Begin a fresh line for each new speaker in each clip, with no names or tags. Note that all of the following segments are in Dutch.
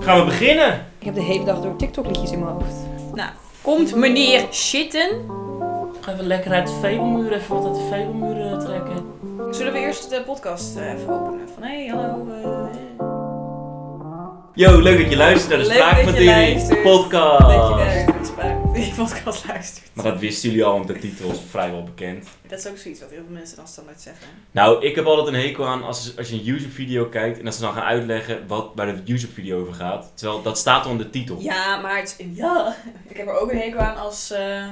Gaan we beginnen?
Ik heb de hele dag door TikTok-liedjes in mijn hoofd.
Komt meneer shitten?
Gaan we lekker uit de Veelmuur, even wat uit de Veelmuur eh, trekken.
Zullen we eerst de podcast eh, even openen? Van hey, hallo. eh,
Yo, leuk dat je luistert naar de
Leuk dat je
Spraakmaterie
luistert. dat je
podcast.
daar die spraak- die podcast luistert.
Ah. Maar dat wisten jullie al, want de titel is vrijwel bekend.
Dat is ook zoiets wat heel veel mensen dan standaard zeggen.
Nou, ik heb altijd een hekel aan als, als je een YouTube-video kijkt en dat ze dan gaan uitleggen wat, waar de YouTube-video over gaat. Terwijl dat staat al in de titel.
Ja, maar het is- ja. Ik heb er ook een hekel aan als eh,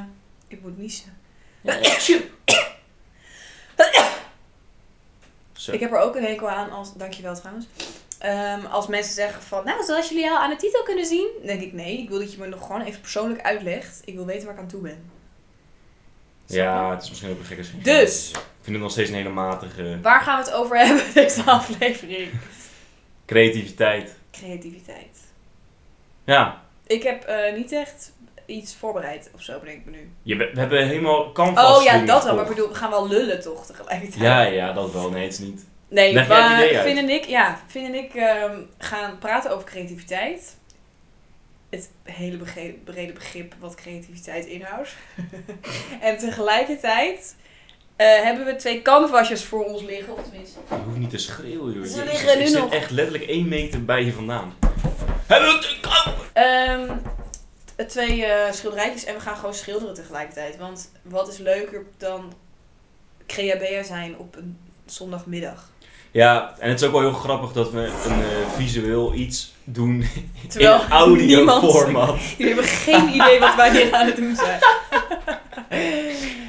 ik moet niezen.
Zo.
Ik heb er ook een hekel aan als, dankjewel trouwens. Ehm, als mensen zeggen van, nou, zoals jullie al aan de titel kunnen zien, dan denk ik nee, ik wil dat je me nog gewoon even persoonlijk uitlegt. Ik wil weten waar ik aan toe ben.
Ja, het is misschien ook een gekke zin.
Dus,
Ik vind het nog steeds een hele matige
waar gaan we het over hebben deze aflevering?
creativiteit.
Creativiteit.
Ja,
Ik heb eh, niet echt iets voorbereid of zo, bedenk ik me nu.
je, we we hebben helemaal canvas
Oh ja,
dingen
dat wel. Maar ik
gevolgd.
bedoel, we gaan wel lullen toch tegelijkertijd.
Ja, ja, dat wel. Nee, het is niet.
Nee,
Leg jij het
maar
idee uit.
Finn en ik, ja, Finn en ik ehm, gaan praten over creativiteit. Het hele begre- brede begrip wat creativiteit inhoudt. en tegelijkertijd eh, hebben we twee canvasjes voor ons liggen. Of tenminste,
Je hoeft niet te schreeuwen, joh.
Ze
Je-
liggen
ik
nu
zit
nog.
echt letterlijk één meter bij je vandaan. Hebben we het
Ehm, t- twee eh, schilderijtjes en we gaan gewoon schilderen tegelijkertijd. Want wat is leuker dan creabeer zijn op een zondagmiddag?
Ja, en het is ook wel heel grappig dat we een eh, visueel iets doen
Terwijl
in audio
niemand-
format.
Jullie hebben geen idee wat wij hier aan het doen zijn.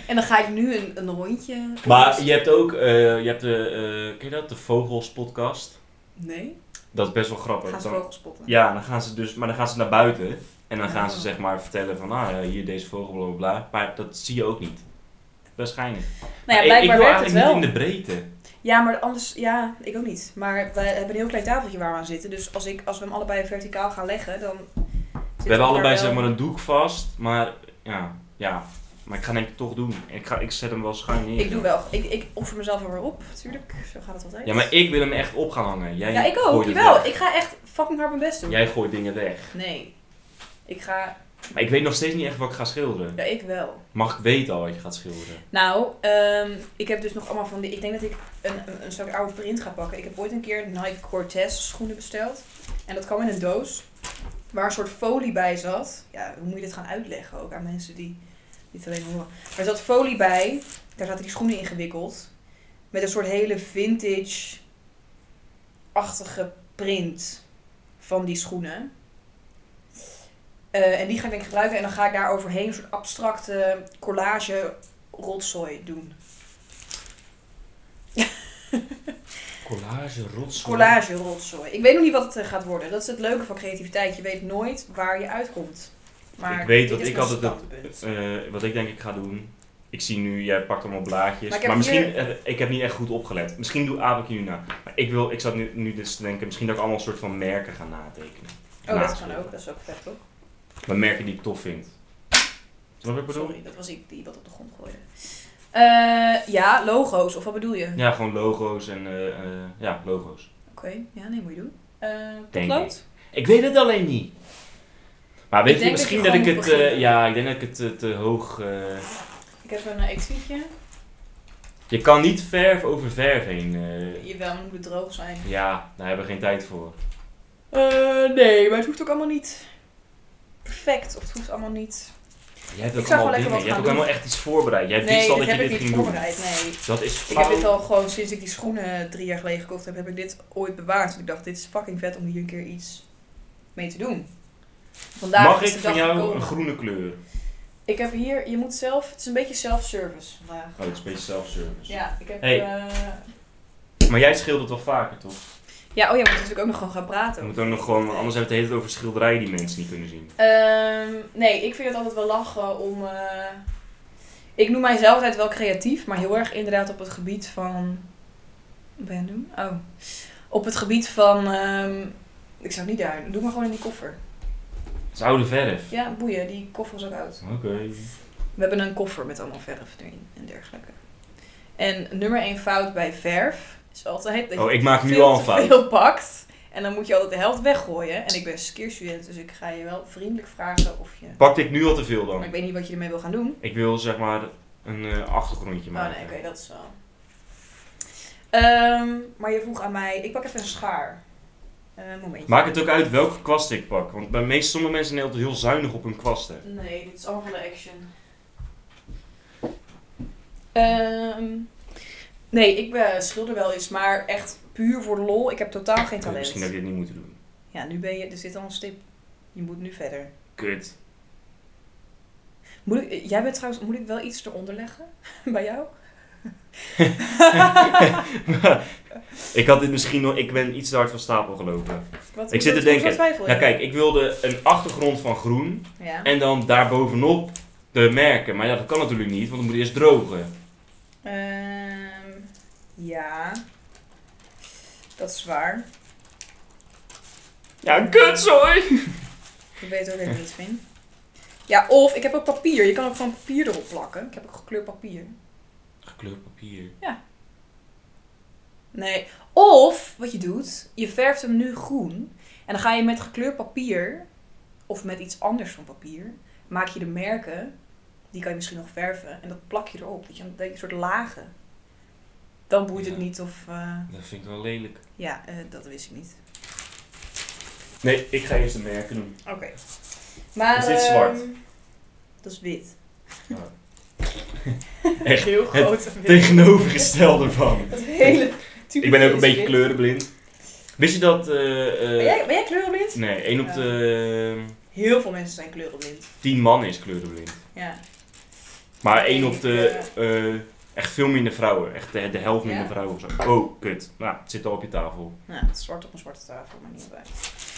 en dan ga ik nu een, een rondje.
Maar je hebt ook, eh, je hebt de, eh, ken je dat? De Vogels podcast.
Nee,
Dat is best wel grappig.
gaan ze
Oh, Dan-
vogels spotten.
Ja, dan gaan ze dus, maar dan gaan ze naar buiten en dan gaan ze
Oh.
zeg maar vertellen van, ah, eh, hier deze vogel, bla bla bla. Maar dat zie je ook niet. Waarschijnlijk.
Nou ja,
Maar ik, ik
blijkbaar
wil
werkt het
eigenlijk
wel.
niet in de breedte.
Ja, maar anders, ja, ik ook niet. Maar wij hebben een heel klein tafeltje waar we aan zitten. Dus als, ik, als we hem allebei verticaal gaan leggen, dan.
We hebben allebei zeg maar een doek vast, maar ja, ja. Maar ik ga denk ik toch doen. Ik, ga, ik zet hem wel schuin neer.
Ik doe wel. Ik, ik offer mezelf er weer op, natuurlijk. Zo gaat het altijd.
Ja, maar ik wil hem echt op gaan hangen. Jij
Ja, ik ook.
gooit het
Jawel,
weg.
ik ga echt fucking hard mijn best doen.
Jij gooit dingen weg.
Nee. Ik ga...
Maar ik weet nog steeds niet echt wat ik ga schilderen.
Ja, ik wel.
Mag ik weten al wat je gaat schilderen?
Nou, ehm, ik heb dus nog allemaal van die... Ik denk dat ik een, een, een soort oude print ga pakken. Ik heb ooit een keer Nike Cortez schoenen besteld. En dat kwam in een doos. Waar een soort folie bij zat. Ja, hoe moet je dit gaan uitleggen ook aan mensen die niet alleen horen. Maar er zat folie bij. Daar zaten die schoenen ingewikkeld. Met een soort hele vintage-achtige print van die schoenen. Eh, en die ga ik denk ik gebruiken. En dan ga ik daar overheen een soort abstracte collage rotzooi doen.
Collage, rotzooi.
Collage rotzooi. Ik weet nog niet wat het eh, gaat worden. Dat is het leuke van creativiteit. Je weet nooit waar je uitkomt. Maar
Ik weet
dit
wat
is
ik
mijn
altijd-
standpunt.
Eh, wat ik denk ik ga doen. Ik zie nu, jij pakt allemaal blaadjes.
Maar
Maar,
ik heb
misschien,
hier-
eh, ik heb niet echt goed opgelet. Misschien doe aap ik je nu na. Maar ik, wil, ik zat nu, nu dus te denken, misschien dat ik allemaal een soort van merken ga natekenen.
Oh, dat kan
Naschilderen.
ook. Dat is ook vet, toch?
Maar merken die ik tof vind. Snap je wat ik bedoel?
Sorry, dat was ik die wat op de grond gooide. Eh, ja, logo's. Of wat bedoel je?
Ja, gewoon logo's en eh, eh, ja, logo's.
Oké, ja, nee, moet je doen. Eh
Denk
potlood?
Ik weet het alleen niet. Maar weet
Ik
je,
denk dat
misschien
je
dat ik
gewoon
het,
moet beginnen.
eh, ja, ik denk dat ik het eh, te hoog. eh,
Ik heb een eh, etuietje.
je kan niet verf over verf heen. eh.
Jawel, maar het moet droog zijn.
ja, daar hebben we geen tijd voor.
Eh, nee, maar het hoeft ook allemaal niet perfect. Of het hoeft allemaal niet...
Jij hebt
Ik
ook
zou
allemaal
gewoon lekker
dingen.
wat
Je hebt ook
gaan doen.
helemaal echt iets voorbereid. Jij
nee,
wist al
dit
dat je
heb
dit
ik
ging
niet
doen.
voorbereid. Nee.
Dat is
Ik heb dit
fout.
al gewoon sinds ik die schoenen drie jaar geleden gekocht heb, heb ik dit ooit bewaard. Want ik dacht, dit is fucking vet om hier een keer iets mee te doen. Vandaag
Mag
is
ik
de
van
dag
jou
gekomen.
een groene kleur?
Ik heb hier, je moet zelf, het is een beetje self-service vandaag.
Oh, het is een beetje self-service.
Ja, ik heb...
Hey.
eh,
Maar jij schildert wel vaker, toch?
ja, oh ja, we moeten natuurlijk ook nog gewoon gaan
We
praten.
moeten ook nog gewoon, anders hebben we het de hele tijd over schilderijen die mensen niet kunnen zien.
Ehm, nee, ik vind het altijd wel lachen om. eh, ik noem mijzelf altijd wel creatief, maar heel erg inderdaad op het gebied van. Wat ben je aan het doen? Oh. Op het gebied van. ehm, ik zou het niet duiden. Doe maar gewoon in die koffer.
Het is oude verf.
Ja, boeien. Die koffer is ook oud.
Oké.
We hebben een koffer met allemaal verf erin en dergelijke. En nummer één fout bij verf is altijd dat je
Oh, ik maak nu
veel
al een
te
fout.
veel pakt En dan moet je altijd de helft weggooien. En ik ben skeerstudent, dus ik ga je wel vriendelijk vragen of je...
Pakte ik nu al te veel
Maar ik
dan?
weet niet wat je ermee wil gaan doen.
Ik wil zeg maar een eh, achtergrondje
Oh
maken.
nee, oké, dat is wel... Ehm, maar je vroeg aan mij... Ik pak even een schaar. Eh momentje.
Maakt het ook uit welke kwast ik pak? Want bij meest, sommige mensen zijn altijd heel zuinig op hun kwasten.
Nee, dit is allemaal van de action. Ehm, nee, ik eh, schilder wel eens, maar echt puur voor de lol. Ik heb totaal geen
Eh, Misschien heb ik
talent.
dit niet moeten doen.
Ja, nu ben je... Er zit al een stip. Je moet nu verder.
Kut.
Moet ik, eh, jij bent trouwens... Moet ik wel iets eronder leggen? Bij jou?
ik had dit misschien nog... Ik ben iets te hard van stapel gelopen.
Wat,
Ik zit
wat-
te denken.
wat twijfel je?
Nou kijk, ik wilde een achtergrond van groen.
Ja.
En dan daarbovenop de merken. Maar ja, dat kan natuurlijk niet, want het moet eerst drogen.
Ehm, ja. Dat is waar.
Ja, kutzooi!
Ik weet ook even niet, Vin. Ja, of ik heb ook papier. Je kan ook gewoon papier erop plakken. Ik heb ook gekleurd papier.
Gekleurd papier.
Nee. Of wat je doet, je verft hem nu groen. En dan ga je met gekleurd papier, of met iets anders van papier, maak je de merken. Die kan je misschien nog verven. En dat plak je erop. Dat je dat je een soort lagen. Dan boeit het
Ja.
niet of. eh,
Dat vind ik wel lelijk.
ja, eh, dat wist ik niet.
Nee, ik ga eerst de merken doen.
Oké. Maar.
Is dit
ehm,
zwart?
dat is wit.
Oh. Echt,
heel
het
groot. en wit.
Tegenovergestelde van.
Dat hele.
Ik ben ook een beetje kleurenblind. Wist je dat... eh,
Ben
eh,
jij, ben jij kleurenblind?
Nee, 1 op
Ja.
de
Heel veel mensen zijn kleurenblind.
10 man is kleurenblind.
Ja.
Maar
Ik
1
denk,
op de... eh, echt veel minder vrouwen. Echt de, de helft minder
Ja.
vrouwen of zo. Oh, kut. Nou, het zit al op je tafel.
Nou, het is zwart op een zwarte tafel, maar niet uit.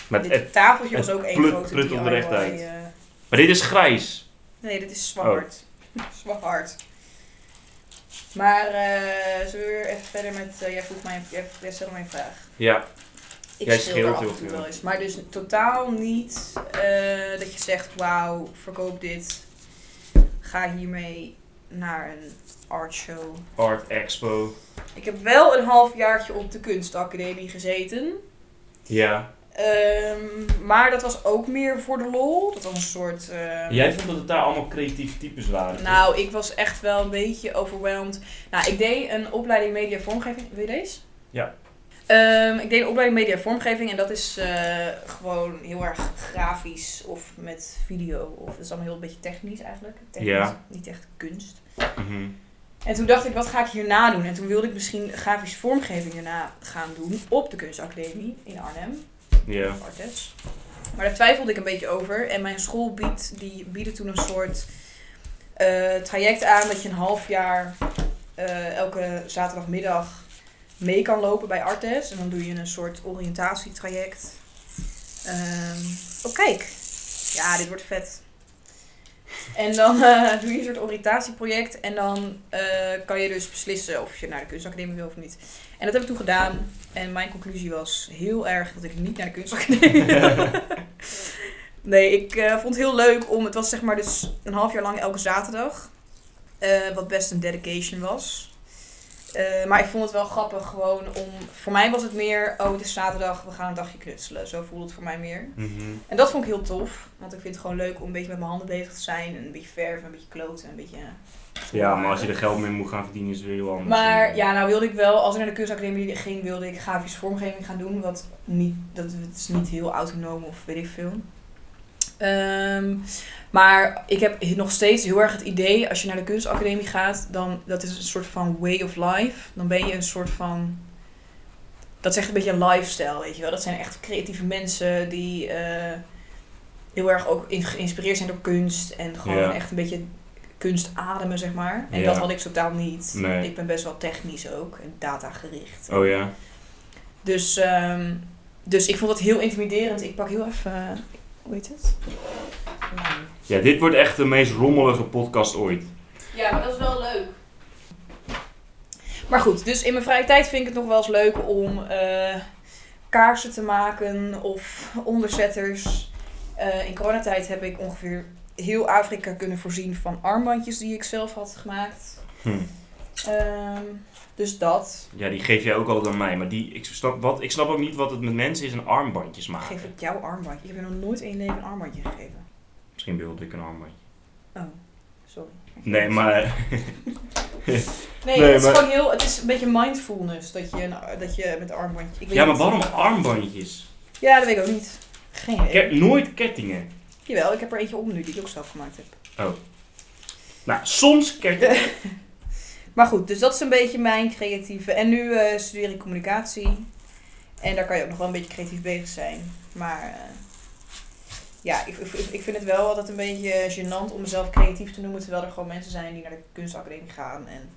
Maar,
Dit
het- het-
tafeltje
het
was ook één
plut-
grote
plut
DIY,
onderrecht uit.
eh,
maar dit is grijs.
nee, dit is
Oh.
zwart. zwart. Maar eh zullen we weer even verder met... eh, jij vroeg mij... Jij, jij stelde mij een vraag.
Ja,
Ik
Jij
schilder
scheelt
af en
heel
toe
veel.
wel eens. Maar dus totaal niet eh, dat je zegt... Wauw, verkoop dit. Ga hiermee naar een artshow.
Art Expo.
Ik heb wel een halfjaartje op de kunstacademie gezeten.
Ja.
Ehm, maar dat was ook meer voor de lol. Dat was een soort... ehm,
Jij vond dat het daar allemaal creatieve types waren.
Nou, ik was echt wel een beetje overweldigd. Nou, ik deed een opleiding media vormgeving. Wil je deze?
Ja.
Ehm, ik deed een opleiding media vormgeving en dat is eh, gewoon heel erg grafisch of met video. Of, dat is allemaal heel een beetje technisch eigenlijk. Technisch,
Ja.
Niet echt kunst.
Mhm.
En toen dacht ik, wat ga ik hierna doen? En toen wilde ik misschien grafische vormgeving hierna gaan doen op de kunstacademie in Arnhem.
Ja.
Artes. Maar daar twijfelde ik een beetje over. En mijn school biedt, die bieden toen een soort eh, traject aan dat je een half jaar eh, elke zaterdagmiddag mee kan lopen bij Artes. En dan doe je een soort oriëntatietraject. Ehm, oh, kijk. Ja, dit wordt vet. En dan eh, doe je een soort oriëntatieproject. En dan eh, kan je dus beslissen of je naar de kunstacademie wil of niet. En dat heb ik toen gedaan. En mijn conclusie was heel erg dat ik niet naar de kunstacademie wil. nee, ik eh, vond het heel leuk om... Het was zeg maar dus een half jaar lang elke zaterdag. eh, wat best een dedication was. Eh, maar ik vond het wel grappig gewoon om... Voor mij was het meer, oh het is zaterdag, we gaan een dagje knutselen. Zo voelde het voor mij meer.
Mhm.
En dat vond ik heel tof. Want ik vind het gewoon leuk om een beetje met mijn handen bezig te zijn. En een beetje verven, een beetje kloten, een beetje...
Ja, maar als je er geld mee moet gaan verdienen is het weer heel anders.
Maar ja, nou wilde ik wel, als ik naar de kunstacademie ging, wilde ik grafische vormgeving gaan doen. Wat niet, dat het is niet heel autonoom of weet ik veel. Ehm, maar ik heb nog steeds heel erg het idee, als je naar de kunstacademie gaat, dan dat is een soort van way of life. Dan ben je een soort van. Dat is echt een beetje een lifestyle, weet je wel. Dat zijn echt creatieve mensen die eh, heel erg ook in- geïnspireerd zijn door kunst. En gewoon
Ja.
echt een beetje kunst ademen, zeg maar. En
Ja.
dat had ik totaal niet.
Nee.
Ik ben best wel technisch ook en datagericht.
Oh ja.
Dus, ehm, dus ik vond dat heel intimiderend. Ik pak heel even. eh, hoe heet het? Lijn.
Ja, dit wordt echt de meest rommelige podcast ooit.
Ja, maar dat is wel leuk. Maar goed, dus in mijn vrije tijd vind ik het nog wel eens leuk om eh, kaarsen te maken of onderzetters. Eh, in coronatijd heb ik ongeveer heel Afrika kunnen voorzien van armbandjes die ik zelf had gemaakt.
Hm.
Ehm, dus dat.
Ja, die geef jij ook altijd aan mij. Maar die, ik, snap wat, ik snap ook niet wat het met mensen is en armbandjes
Ik
maken.
geef ik jouw armbandje. Ik heb je nog nooit in je leven een armbandje gegeven.
Misschien wilde ik een armbandje.
Oh, sorry.
Nee, maar...
Nee,
Nee,
het is
maar-
gewoon heel... Het is een beetje mindfulness dat je, een- dat je met een armbandje... Ik weet
Ja, maar
niet.
waarom armbandjes?
Ja, dat weet ik ook niet. Geen idee.
Ik heb nooit kettingen.
Jawel, ik heb er eentje om nu die ik ook zelf gemaakt heb.
Nou, soms kettingen.
Maar goed, dus dat is een beetje mijn creatieve. En nu eh, studeer ik communicatie. En daar kan je ook nog wel een beetje creatief bezig zijn. Maar eh, ja, ik, ik, ik vind het wel altijd een beetje eh, gênant om mezelf creatief te noemen. Terwijl er gewoon mensen zijn die naar de kunstacademie gaan. En,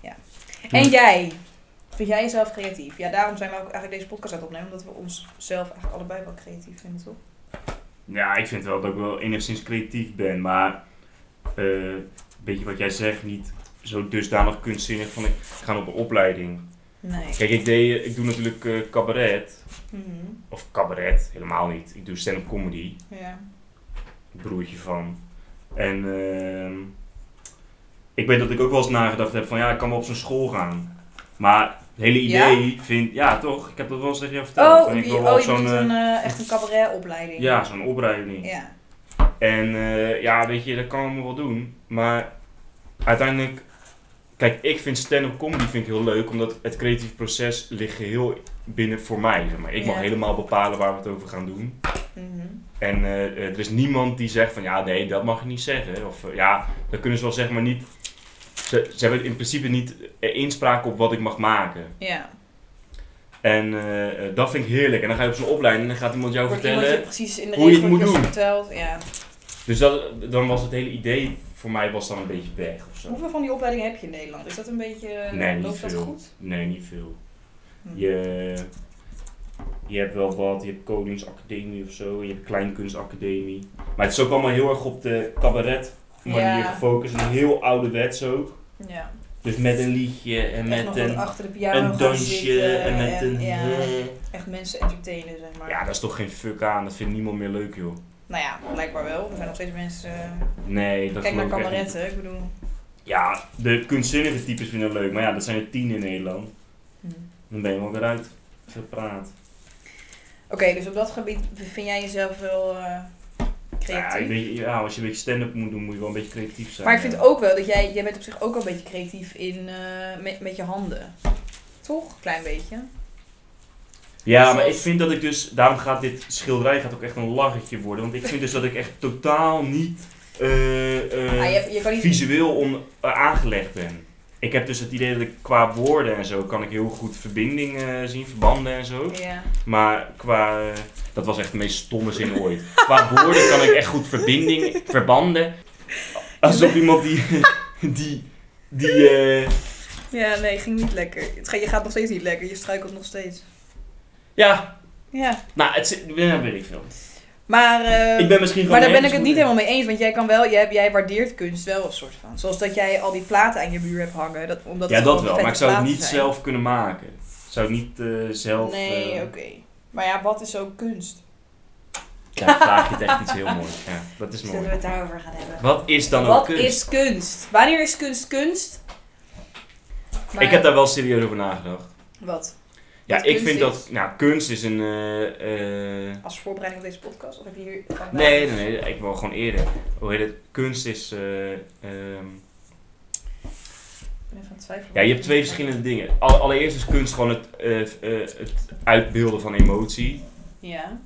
ja. en
Hm.
jij? Vind jij jezelf creatief? Ja, daarom zijn we ook eigenlijk deze podcast aan het opnemen. Omdat we onszelf eigenlijk allebei wel creatief vinden, toch?
Ja, ik vind wel dat ik wel enigszins creatief ben, maar eh, een beetje wat jij zegt, niet zo dusdanig kunstzinnig van ik ga op een opleiding.
Nee.
Kijk, ik, deed, ik doe natuurlijk eh, cabaret,
Mhm.
of cabaret, helemaal niet. Ik doe stand-up comedy,
Ja.
een broertje van. En ehm, ik weet dat ik ook wel eens nagedacht heb van ja, ik kan wel op zo'n school gaan. Maar het hele
Ja?
idee vind, ja toch, ik heb dat wel eens tegen jou verteld.
Oh,
Van, ik
die,
wil wel
oh,
op
je doet
eh,
een, eh, echt een cabaretopleiding.
ja, zo'n opleiding.
Ja.
En eh, ja, weet je, dat kan allemaal wel doen. Maar uiteindelijk, kijk, ik vind stand-up comedy vind ik heel leuk, omdat het creatief proces ligt geheel binnen voor mij. Zeg maar. Ik mag
Ja.
helemaal bepalen waar we het over gaan doen.
Mhm.
En eh, eh, er is niemand die zegt van ja, nee, dat mag je niet zeggen. Of eh, ja, dan kunnen ze wel zeg maar niet. Ze, ze hebben in principe niet eh, inspraak op wat ik mag maken.
Ja.
En eh, eh, dat vind ik heerlijk. En dan ga je op zo'n opleiding en dan gaat iemand jou
Wordt
vertellen.
iemand je precies in de
hoe je het
regel
moet
wat je
doen.
vertelt. Ja.
Dus dat, dan was het hele idee voor mij was dan een beetje weg of zo.
Hoeveel van die opleidingen heb je in Nederland? Is dat een beetje... eh,
Nee, niet
loopt dat
veel.
goed?
Nee, niet veel.
Hm.
Je, je hebt wel wat, je hebt Koningsacademie of zo, je hebt Kleinkunstacademie. Maar het is ook allemaal heel erg op de cabaret manier
Ja.
gefocust. En heel ouderwets ook.
Ja.
Dus met een liedje en
echt nog
met
wat
een,
achter de piano
een
gaan
dansje
zitten
en met een...
Ja,
hè.
echt mensen entertainen, zeg maar.
Ja, dat is toch geen fuck aan, dat vindt niemand meer leuk joh.
Nou ja, blijkbaar wel. Er zijn nog steeds mensen... eh,
Nee, dat
kijk naar
geloof ik echt niet.
kameretten, ik bedoel...
Ja, de kunstzinnige types vinden het leuk, maar ja, dat zijn er tien in Nederland.
Hm.
Dan ben je wel weer uit gepraat.
Oké, dus op dat gebied vind jij jezelf wel eh, creatief?
Ja, ik weet- ja, als je een beetje stand-up moet doen, moet je wel een beetje creatief zijn.
Maar ik vind
ja.
ook wel dat jij, jij bent op zich ook al een beetje creatief in, eh, met, met je handen. Toch? Klein beetje.
Ja, maar ik
Zoals-
vind dat ik dus... Daarom gaat dit schilderij gaat ook echt een lachertje worden. Want ik vind dus dat ik echt totaal niet eh, eh,
Ah, je, je kan niet...
visueel on, eh, aangelegd ben. Ik heb dus het idee dat ik qua woorden en zo kan ik heel goed verbinding eh, zien, verbanden en zo.
Ja.
Maar qua... eh, dat was echt de meest stomme zin ooit. Qua woorden kan ik echt goed verbinding, verbanden. Alsof iemand die... die, die eh,
ja, nee, ging niet lekker. Het ga- je gaat nog steeds niet lekker, je struikelt nog steeds.
ja,
Ja.
Nou, het zit, ja, weet ik veel.
Maar, eh,
Ik ben misschien gewoon
maar daar ben ik
nergens
het niet
goed in.
helemaal mee eens, want jij, kan wel, jij, jij waardeert kunst wel een soort van. Zoals dat jij al die platen aan je muur hebt hangen. Dat, omdat
ja,
het
dat
gewoon
wel, maar ik
vette
zou het
platen
niet
zijn.
zelf kunnen maken. Ik zou het niet eh, zelf...
Nee,
eh,
oké. Maar ja, wat is ook kunst?
Ja, vraag je het echt iets heel moois. Ja, dat is
Zullen
mooi.
we het daarover gaan hebben?
Wat is dan ook
Wat
kunst?
is kunst? Wanneer is kunst kunst? Maar-
Ik heb daar wel serieus over nagedacht.
Wat?
Ja,
Wat
ik
kunst
vind
is?
dat... Nou, kunst is een... eh, eh,
Als voorbereiding op deze podcast? Of heb je hier...
nee, nee, nee, ik wil gewoon eerder. Hoe heet het? Kunst is... eh, ehm,
Ik ben even aan het twijfelen.
ja, je hebt twee verschillende dingen. Al- allereerst is kunst gewoon het, eh, eh, het uitbeelden van emotie.
Ja.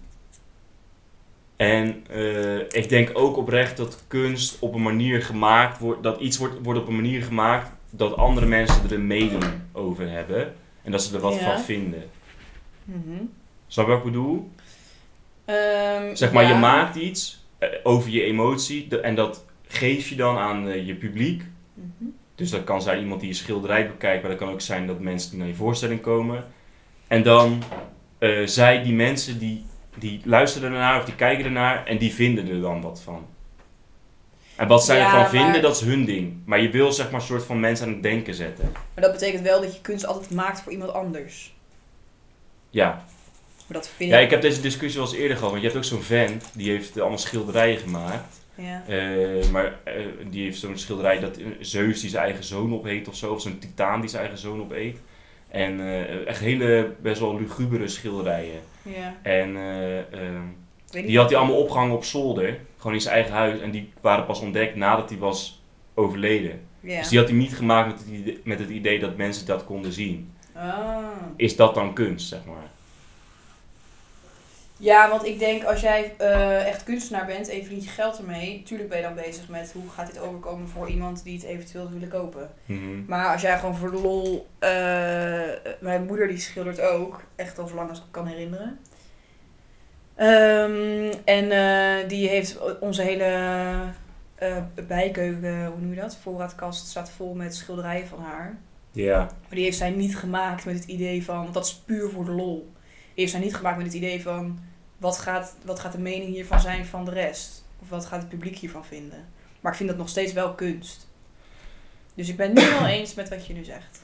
En eh, ik denk ook oprecht dat kunst op een manier gemaakt wordt, dat iets wordt, wordt op een manier gemaakt dat andere mensen er een mening over hebben. En dat ze er wat
Ja.
van vinden. Snap je wat ik bedoel?
Mhm. Ehm,
Zeg maar,
ja.
je maakt iets eh, over je emotie de- en dat geef je dan aan eh, je publiek.
Mhm.
Dus dat kan zijn iemand die je schilderij bekijkt, maar dat kan ook zijn dat mensen die naar je voorstelling komen. En dan eh, zij, die mensen, die, die luisteren ernaar of die kijken ernaar en die vinden er dan wat van. En wat zij
Ja,
ervan
maar-
vinden, dat is hun ding. Maar je wil zeg maar een soort van mensen aan het denken zetten.
Maar dat betekent wel dat je kunst altijd maakt voor iemand anders.
Ja.
Maar dat vind
ja, ik heb deze discussie wel eens eerder gehad. Want je hebt ook zo'n vent, die heeft eh, allemaal schilderijen gemaakt.
Ja.
Eh, maar eh, die heeft zo'n schilderij dat eh, Zeus die zijn eigen zoon opeet of zo. Of zo'n titaan die zijn eigen zoon opeet. En eh, echt hele best wel lugubere schilderijen.
ja.
En eh, eh,
Ik weet niet.
die had hij allemaal opgehangen op zolder. Gewoon in zijn eigen huis. En die waren pas ontdekt nadat hij was overleden.
Ja.
Dus die had hij niet gemaakt met het, idee, met het idee dat mensen dat konden zien.
Ah.
Is dat dan kunst, zeg maar?
Ja, want ik denk als jij eh, echt kunstenaar bent en je verdient je geld ermee, tuurlijk ben je dan bezig met hoe gaat dit overkomen voor iemand die het eventueel zou willen kopen.
Mhm.
Maar als jij gewoon voor de lol, eh, mijn moeder die schildert ook, echt al zo lang als ik kan herinneren. Ehm, en eh, die heeft onze hele eh, bijkeuken, hoe noem je dat, voorraadkast staat vol met schilderijen van haar.
Ja.
Maar die heeft zij niet gemaakt met het idee van, want dat is puur voor de lol. Die heeft zij niet gemaakt met het idee van, wat gaat, wat gaat de mening hiervan zijn van de rest? Of wat gaat het publiek hiervan vinden? Maar ik vind dat nog steeds wel kunst. Dus ik ben het niet wel eens met wat je nu zegt.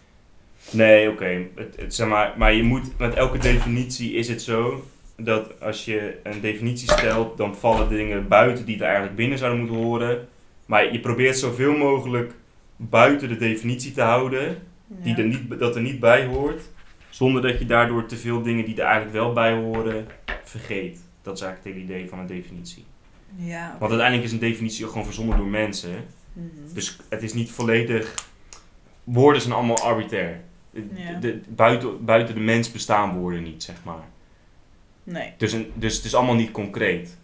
Nee, oké. Het- het- Zeg maar, maar je moet, met elke definitie is het zo dat als je een definitie stelt, dan vallen dingen buiten die er eigenlijk binnen zouden moeten horen. Maar je probeert zoveel mogelijk buiten de definitie te houden, die er niet, dat er niet bij hoort, zonder dat je daardoor te veel dingen die er eigenlijk wel bij horen vergeet. Dat is eigenlijk het hele idee van een definitie.
Ja.
Want uiteindelijk is een definitie ook gewoon verzonnen door mensen.
Mhm.
Dus het is niet volledig. Woorden zijn allemaal arbitrair. De-
Ja.
de- buiten, buiten de mens bestaan woorden niet, zeg maar.
Nee.
Dus, een, dus het is allemaal niet concreet.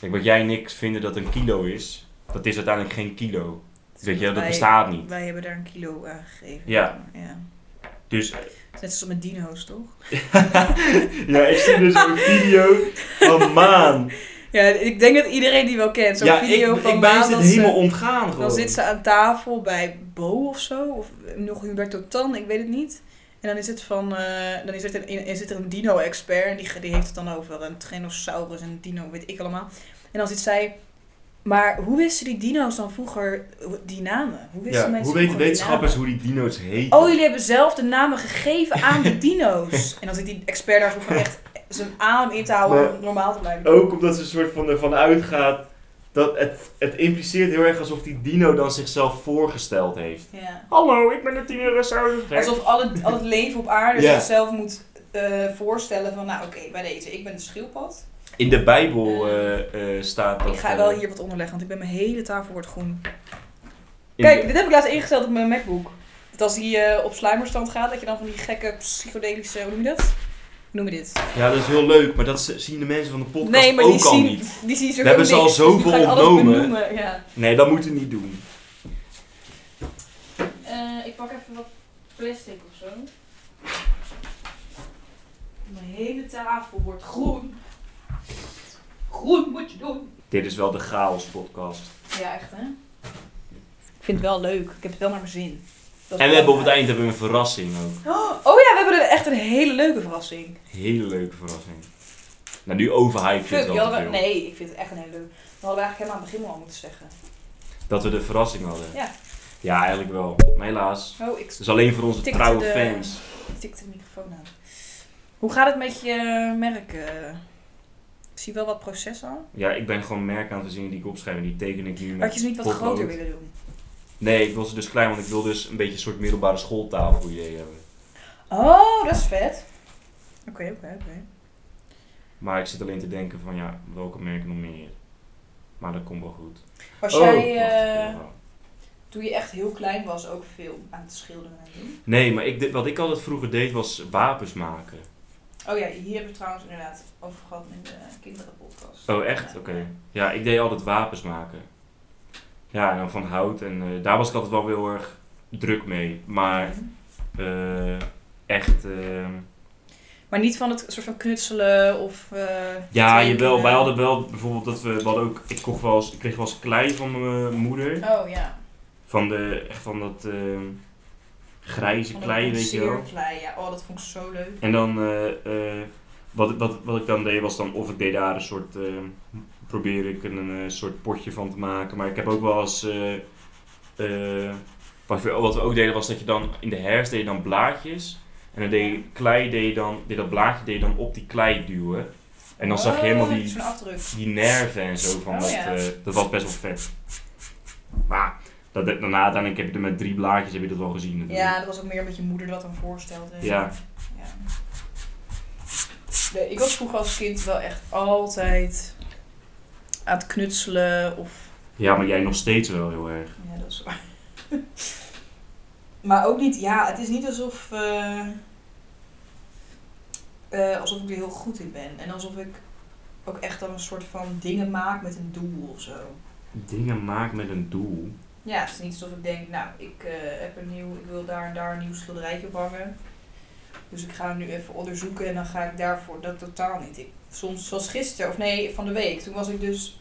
Kijk, wat jij en ik vinden dat een kilo is, dat is uiteindelijk geen kilo. Weet je, dat
Dus Wij-
bestaat niet.
Wij hebben daar een kilo aan gegeven.
Ja. Dus
Het is Net zoals met dino's, toch?
ja, ik zie dus een video van Maan.
Ja, ik denk dat iedereen die wel kent. Zo'n
ja,
video
ik,
van
ik ben
Maan
het
dat ze-
helemaal ontgaan gewoon.
Dan zit ze aan tafel bij Bo of zo, of nog Humberto Tan, ik weet het niet. En dan is het van, eh, dan is het een, is het er een dino-expert en die, die heeft het dan over een Tyrannosaurus en een dino, weet ik allemaal. En dan zit zij, maar hoe wisten die dino's dan vroeger die namen? Hoe wisten
ja,
mensen
hoe weten
vroeger die
wetenschappers
namen?
hoe die dino's heten?
Oh, jullie hebben zelf de namen gegeven aan de dino's. En dan zit die expert daar zo van echt zijn adem in te houden om normaal te blijven.
Ook omdat ze een soort van ervan uitgaat dat het, het impliceert heel erg alsof die dino dan zichzelf voorgesteld heeft.
Ja.
Hallo, ik ben een dinosaurus.
Alsof al het, al het leven op aarde
Ja.
zichzelf moet eh, voorstellen van, nou oké, bij deze, ik ben een schildpad.
In de Bijbel eh, eh, staat dat.
Ik ga
eh,
wel hier wat onderleggen, want ik ben mijn hele tafel wordt groen.
in
Kijk,
de-
dit heb ik laatst ingesteld op mijn MacBook. Dat als die eh, op sluimerstand gaat, dat je dan van die gekke psychedelische, hoe noem je dat? Hoe noem je dit?
Ja, dat is heel leuk, maar dat z- zien de mensen van de podcast
nee, maar
ook
die
al
zien,
niet.
die zien
We hebben ze al
zo
zoveel ontnomen.
Ja.
Nee, dat moeten we niet doen.
Eh, ik pak even wat plastic of zo. Mijn hele tafel wordt groen. Groen moet je doen.
Dit is wel de chaos podcast.
Ja, echt hè? Ik vind het wel leuk. Ik heb het wel naar mijn zin. Dat is
En we hebben op het
belangrijk.
eind hebben we een verrassing ook.
Oh ja, we hebben er echt een hele leuke verrassing.
Hele leuke verrassing. Nou, nu overhype je
Fuck,
het
die
wel te
hadden we-
veel.
Nee, ik vind het echt een hele leuke. We hadden we eigenlijk helemaal aan het begin al moeten zeggen.
Dat we de verrassing hadden.
Ja.
Ja, eigenlijk wel. Maar helaas.
Oh, ik
Dus alleen voor onze
Tikte
trouwe
de-
fans.
tik de microfoon aan. Hoe gaat het met je merk? eh? Ik zie wel wat proces al.
Ja, ik ben gewoon merken aan het verzinnen die ik opschrijf en die teken ik nu met
Had je ze niet wat
potlood.
groter willen doen?
Nee, ik wil ze dus klein, want ik wil dus een beetje een soort middelbare schooltafel idee hebben.
Oh, dat is vet. Oké, oké, oké.
Maar ik zit alleen te denken van ja, welke merken nog meer? Maar dat komt wel goed.
Als
Oh,
jij,
wacht,
eh,
ik wil wel.
toen je echt heel klein was, ook veel aan het schilderen en doen?
Nee, maar ik, deed- wat ik altijd vroeger deed was wapens maken.
Oh ja, hier hebben we trouwens inderdaad over gehad in de kinderenpodcast.
Oh, echt?
Ja. Mhm.
Oké. Ja, ik deed altijd wapens maken. Ja, en dan van hout. En eh, daar was ik altijd wel heel erg druk mee. Maar eh, echt... ehm,
Maar niet van het soort van knutselen of... eh,
Ja,
tekenen.
jawel. Wij hadden wel bijvoorbeeld dat we, we hadden ook, ik kocht wel eens, ik kreeg wel eens klei van mijn moeder.
Oh ja.
Van de, echt van dat ehm, grijze
Van
klei,
dat
weet je wel.
zeerklei, ja. Oh, dat vond ik zo leuk.
En dan, eh, eh, wat, wat, wat ik dan deed was dan, of ik deed daar een soort, ehm, probeer ik een, eh, soort potje van te maken. Maar ik heb ook wel eens, eh, eh, wat, we, wat we ook deden was dat je dan, in de herfst deed je dan blaadjes. En dan deed je klei, deed je dan, deed dat blaadje deed je dan op die klei duwen. En dan zag je helemaal die,
Oh, Zo'n afdruk.
die nerven en zo van
Oh,
dat.
ja.
eh, dat was best wel vet. Maar dat, daarna uiteindelijk heb je er met drie blaadjes heb je dat wel gezien. natuurlijk.
Ja, dat was ook meer omdat je moeder dat dan voorstelde.
Mm. Ja.
Ja. Nee, ik was vroeger als kind wel echt altijd aan het knutselen of...
ja, maar jij nog steeds wel heel erg.
Ja, dat is waar. maar ook niet... Ja, het is niet alsof... eh, eh, alsof ik er heel goed in ben. En alsof ik ook echt dan een soort van dingen maak met een doel of zo.
Dingen maken met een doel.
Ja, het is niet alsof ik denk, nou, ik eh, heb een nieuw, ik wil daar en daar een nieuw schilderijtje op hangen. Dus ik ga hem nu even onderzoeken en dan ga ik daarvoor, dat totaal niet. Ik, soms, zoals gisteren, of nee, van de week, toen was ik dus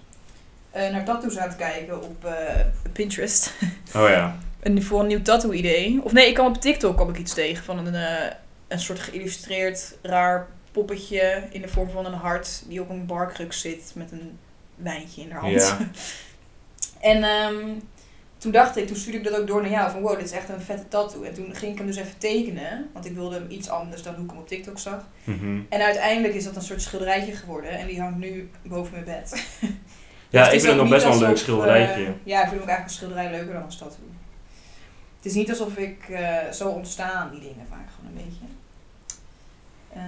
eh naar tattoos aan het kijken op eh, Pinterest.
Oh ja.
En voor een nieuw tattoo-idee. Of nee, ik kwam op TikTok kwam ik iets tegen van een, eh, een soort geïllustreerd raar poppetje in de vorm van een hart die op een barkruk zit met een wijntje in haar hand.
Ja.
En ehm, toen dacht ik, toen stuurde ik dat ook door naar jou. Van wow, dit is echt een vette tattoo. En toen ging ik hem dus even tekenen. Want ik wilde hem iets anders dan hoe ik hem op TikTok zag.
Mhm.
En uiteindelijk is dat een soort schilderijtje geworden. En die hangt nu boven mijn bed. Dus
Ja,
het
ik vind
is
het
ook
nog
niet
best wel een leuk
alsof,
schilderijtje.
eh, ja, ik vind ook eigenlijk een schilderij leuker dan een tattoo. Het is niet alsof ik eh, zo ontstaan, die dingen vaak gewoon een beetje. Ehm,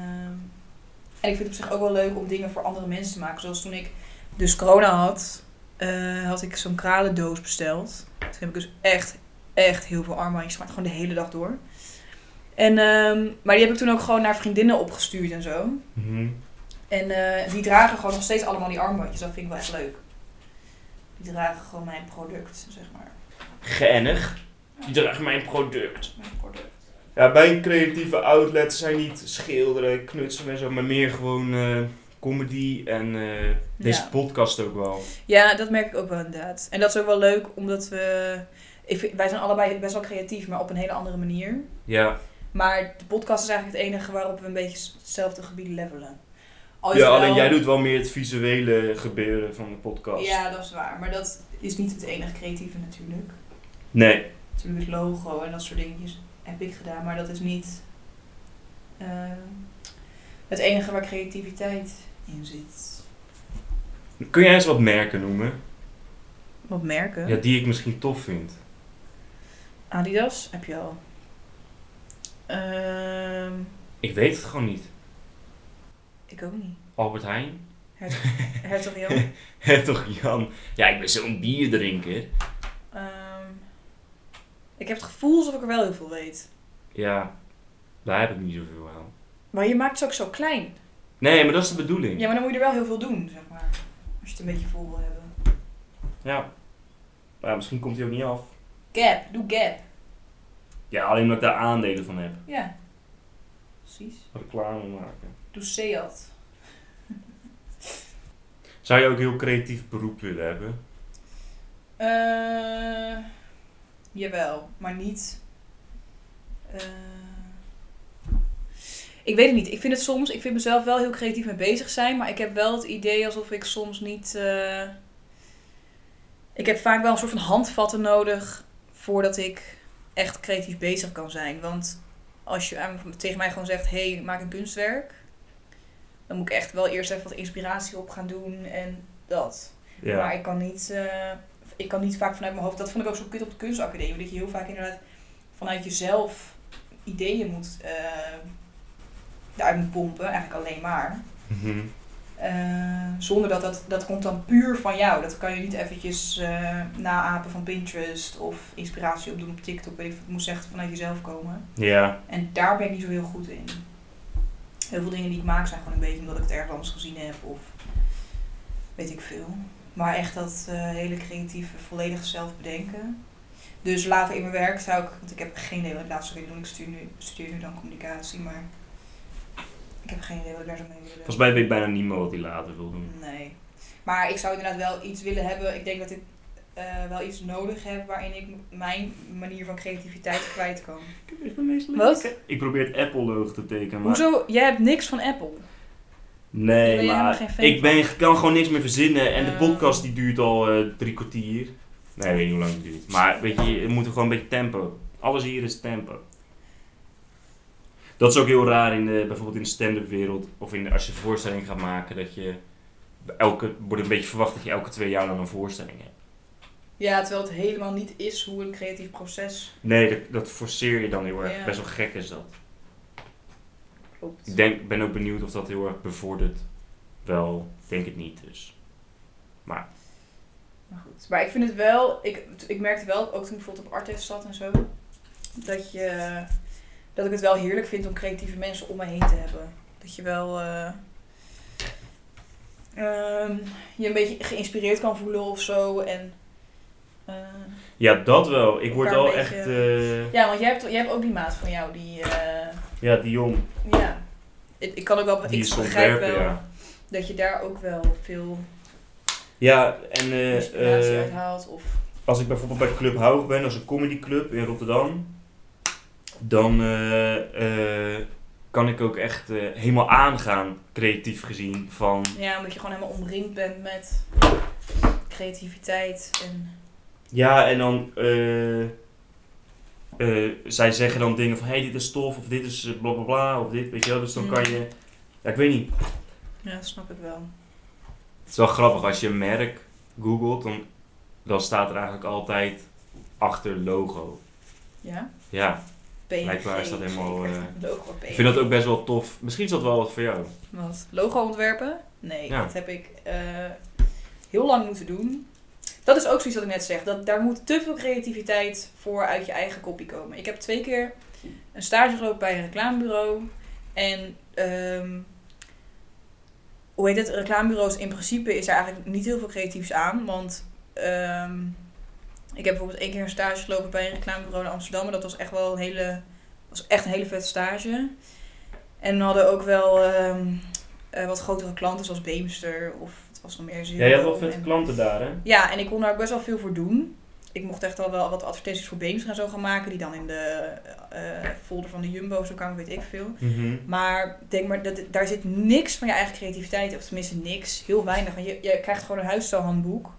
en ik vind het op zich ook wel leuk om dingen voor andere mensen te maken. Zoals toen ik dus corona had, eh, had ik zo'n kralendoos besteld. Toen heb ik dus echt, echt heel veel armbandjes gemaakt. Gewoon de hele dag door. En, ehm, maar die heb ik toen ook gewoon naar vriendinnen opgestuurd en zo.
Mhm.
En eh, die dragen gewoon nog steeds allemaal die armbandjes. Dat vind ik wel echt leuk. Die dragen gewoon mijn product, zeg maar.
Geinig. Die draagt mijn product.
Mijn product.
Ja, mijn creatieve outlets zijn niet schilderen, knutselen en zo, maar meer gewoon eh, comedy en eh, deze
Ja.
podcast ook wel.
Ja, dat merk ik ook wel inderdaad. En dat is ook wel leuk, omdat we... Ik vind- wij zijn allebei best wel creatief, maar op een hele andere manier.
Ja,
Maar de podcast is eigenlijk het enige waarop we een beetje hetzelfde gebied levelen. Al is
ja
wel-
alleen jij doet wel meer het visuele gebeuren van de podcast.
Ja, dat is waar. Maar dat is niet het enige creatieve natuurlijk.
Nee,
Natuurlijk het logo en dat soort dingetjes heb ik gedaan. Maar dat is niet eh, het enige waar creativiteit in zit.
kun jij eens wat merken noemen?
Wat merken?
Ja, die ik misschien tof vind.
Adidas heb je al. Ehm,
Ik weet het gewoon niet.
ik ook niet.
Albert Heijn?
Hertog Jan.
Toch Jan? Ja, ik ben zo'n bierdrinker.
Ehm, ik heb het gevoel alsof ik er wel heel veel weet.
Ja, daar heb ik niet zoveel aan.
Maar je maakt ze ook zo klein.
Nee, maar dat is de bedoeling.
Ja, maar dan moet je er wel heel veel doen, zeg maar. Als je het een beetje vol wil hebben.
Ja. Maar ja, misschien komt hij ook niet af.
Gap, doe gap.
Ja, alleen omdat ik daar aandelen van heb.
Ja. Precies.
Reclame maken.
Doe Seat.
Zou je ook een heel creatief beroep willen hebben?
Eh, jawel, maar niet. eh, ik weet het niet. Ik vind het soms. Ik vind mezelf wel heel creatief mee bezig zijn. Maar ik heb wel het idee alsof ik soms niet. eh, ik heb vaak wel een soort van handvatten nodig. voordat ik echt creatief bezig kan zijn. Want als je aan- tegen mij gewoon zegt: hé, hey, maak een kunstwerk. dan moet ik echt wel eerst even wat inspiratie op gaan doen en dat. Maar ik kan niet, eh, ik kan niet vaak vanuit mijn hoofd. Dat vond ik ook zo kut op de kunstacademie. Dat je heel vaak inderdaad vanuit jezelf ideeën moet eh uit moet pompen. Eigenlijk alleen maar.
Mhm.
Eh, zonder dat, dat dat komt dan puur van jou. Dat kan je niet eventjes eh, naapen van Pinterest of inspiratie opdoen op TikTok. Weet ik, het moet echt vanuit jezelf komen.
Ja.
En daar ben ik niet zo heel goed in. Heel veel dingen die ik maak zijn gewoon een beetje omdat ik het ergens anders gezien heb of weet ik veel. Maar echt dat eh, hele creatieve, volledig zelf bedenken. Dus later in mijn werk zou ik, want ik heb geen idee wat ik laatst zou willen doen. Ik studeer nu, studeer nu dan communicatie, maar ik heb geen idee wat ik daar zo mee wil doen.
Volgens mij weet bijna niemand wat hij later wil doen.
Nee. Maar ik zou inderdaad wel iets willen hebben. Ik denk dat ik eh, wel iets nodig heb waarin ik m- mijn manier van creativiteit kwijt kan. Wat?
Ik probeer het Apple-logo te tekenen, maar...
Hoezo? Jij hebt niks van Apple. Daar
Nee,
ben je
maar
helemaal geen fan
ik ben, kan gewoon niks meer verzinnen. En de
Eh.
podcast die duurt al eh, drie kwartier. Nee, ik weet niet hoe lang het duurt. Maar weet je, we moeten gewoon een beetje tempo. Alles hier is tempo. Dat is ook heel raar in de, bijvoorbeeld in de stand-up wereld. Of in de- als je een voorstelling gaat maken. Dat je elke, wordt een beetje verwacht dat je elke twee jaar dan een voorstelling hebt.
Ja, terwijl het helemaal niet is hoe een creatief proces
Nee, dat, dat forceer je dan heel erg.
Ja.
Best wel gek is dat.
loopt.
Ik denk, ben ook benieuwd of dat heel erg bevordert. Wel, ik denk het niet dus.
Maar goed. Maar ik vind het wel, ik, ik merkte wel, ook toen ik bijvoorbeeld op Artes zat en zo, dat, je, dat ik het wel heerlijk vind om creatieve mensen om me heen te hebben. Dat je wel eh, ehm, je een beetje geïnspireerd kan voelen of zo. En, eh,
Ja, dat wel. Ik word
Elkaar
al
een beetje-
echt... eh,
ja, want jij hebt, jij hebt ook die maat van jou die. eh,
ja, die jong.
ja. Ik, ik kan ook wel.
Die
Oh, ik
is
begrijp
ontwerper,
wel
ja.
dat je daar ook wel veel
Ja, en eh,
inspiratie
eh,
uit haalt. Of,
als ik bijvoorbeeld bij Club Hoog ben, dat is een comedyclub in Rotterdam, dan eh, eh, kan ik ook echt eh, helemaal aangaan, creatief gezien, van
ja, omdat je gewoon helemaal omringd bent met creativiteit en.
Ja, en dan. eh, eh, zij zeggen dan dingen van: hé, hey, dit is tof, of dit is eh, bla bla bla, of dit, weet je wel. Dus dan
Mm.
kan je. Ja, ik weet niet.
Ja, dat snap ik wel.
Het is wel grappig, als je een merk googelt, dan, dan staat er eigenlijk altijd achter logo.
Ja?
Ja,
PNG.
Blijkbaar is dat helemaal,
zeker.
eh,
Logo PNG.
ik vind dat ook best wel tof. Misschien is dat wel wat voor jou.
Wat? Logo ontwerpen? Nee,
Ja.
dat heb ik eh, heel lang moeten doen. Dat is ook zoiets wat ik net zeg. Dat, daar moet te veel creativiteit voor uit je eigen kopie komen. Ik heb twee keer een stage gelopen bij een reclamebureau. En ehm, hoe heet het? Reclamebureaus in principe is er eigenlijk niet heel veel creatiefs aan. Want ehm, ik heb bijvoorbeeld één keer een stage gelopen bij een reclamebureau in Amsterdam. En dat was echt wel een hele, was echt een hele vette stage. En we hadden ook wel ehm, eh, wat grotere klanten zoals Beemster of het was nog meer zin.
Ja, je had wel vette klanten daar, hè?
Ja, en ik kon daar ook best wel veel voor doen. Ik mocht echt al wel wat advertenties voor Beemster en zo gaan maken. Die dan in de eh, folder van de Jumbo zo kwamen, weet ik veel.
Mhm.
Maar denk maar, dat, daar zit niks van je eigen creativiteit. Of tenminste niks. Heel weinig. Want je, je krijgt gewoon een huisstijlhandboek.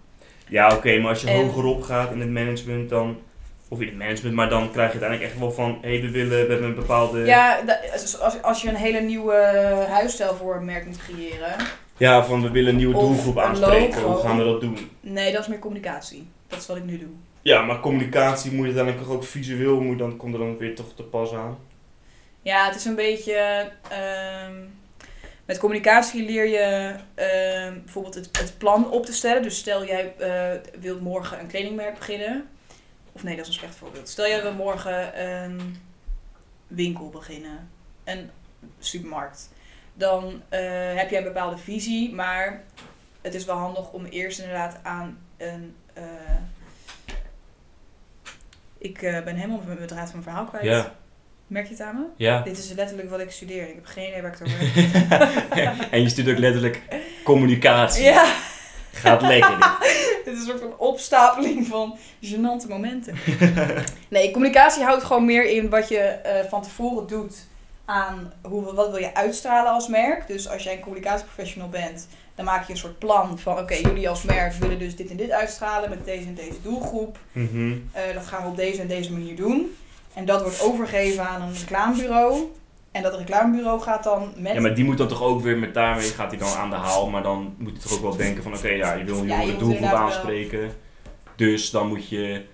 Ja, oké, maar als je
En-
hogerop gaat in het management, dan. Of in het management, maar dan krijg je uiteindelijk echt wel van: hé, hey, we willen, we hebben een bepaalde.
Ja, da- als, als, als je een hele nieuwe huisstijl voor een merk moet creëren.
Ja, van we willen een nieuwe
Of
doelgroep
een
aanspreken.
logo.
Hoe gaan we dat doen?
Nee, dat is meer communicatie. Dat is wat ik nu doe.
Ja, maar communicatie moet uiteindelijk toch ook visueel, moet dan, komt er dan weer toch te pas aan.
Ja, het is een beetje. ehm, met communicatie leer je ehm, bijvoorbeeld het, het plan op te stellen. Dus stel jij eh, wilt morgen een kledingmerk beginnen. Of nee, dat is een slecht voorbeeld. Stel jij wil morgen een winkel beginnen, een supermarkt. Dan eh, heb jij een bepaalde visie, maar het is wel handig om eerst inderdaad aan een. eh, ik eh, ben helemaal met mijn draad van mijn verhaal kwijt.
Ja.
Merk je het aan me?
Ja.
Dit is letterlijk wat ik studeer. Ik heb geen idee waar ik het over heb.
en je stuurt ook letterlijk communicatie.
Ja,
Gaat lekker. dit.
dit is een soort van opstapeling van gênante momenten. Nee, communicatie houdt gewoon meer in wat je eh, van tevoren doet aan hoe, wat wil je uitstralen als merk. Dus als jij een communicatieprofessional bent, dan maak je een soort plan van oké, jullie als merk willen dus dit en dit uitstralen met deze en deze doelgroep.
Mhm.
Eh, dat gaan we op deze en deze manier doen. En dat wordt overgegeven aan een reclamebureau. En dat reclamebureau gaat dan met
Ja, maar die moet dan toch ook weer met daarmee gaat hij dan aan de haal. Maar dan moet hij toch ook wel denken van oké, ja, je wil een
Ja, je
jongere
moet
doelgroep
inderdaad wel-
aanspreken. Dus dan moet je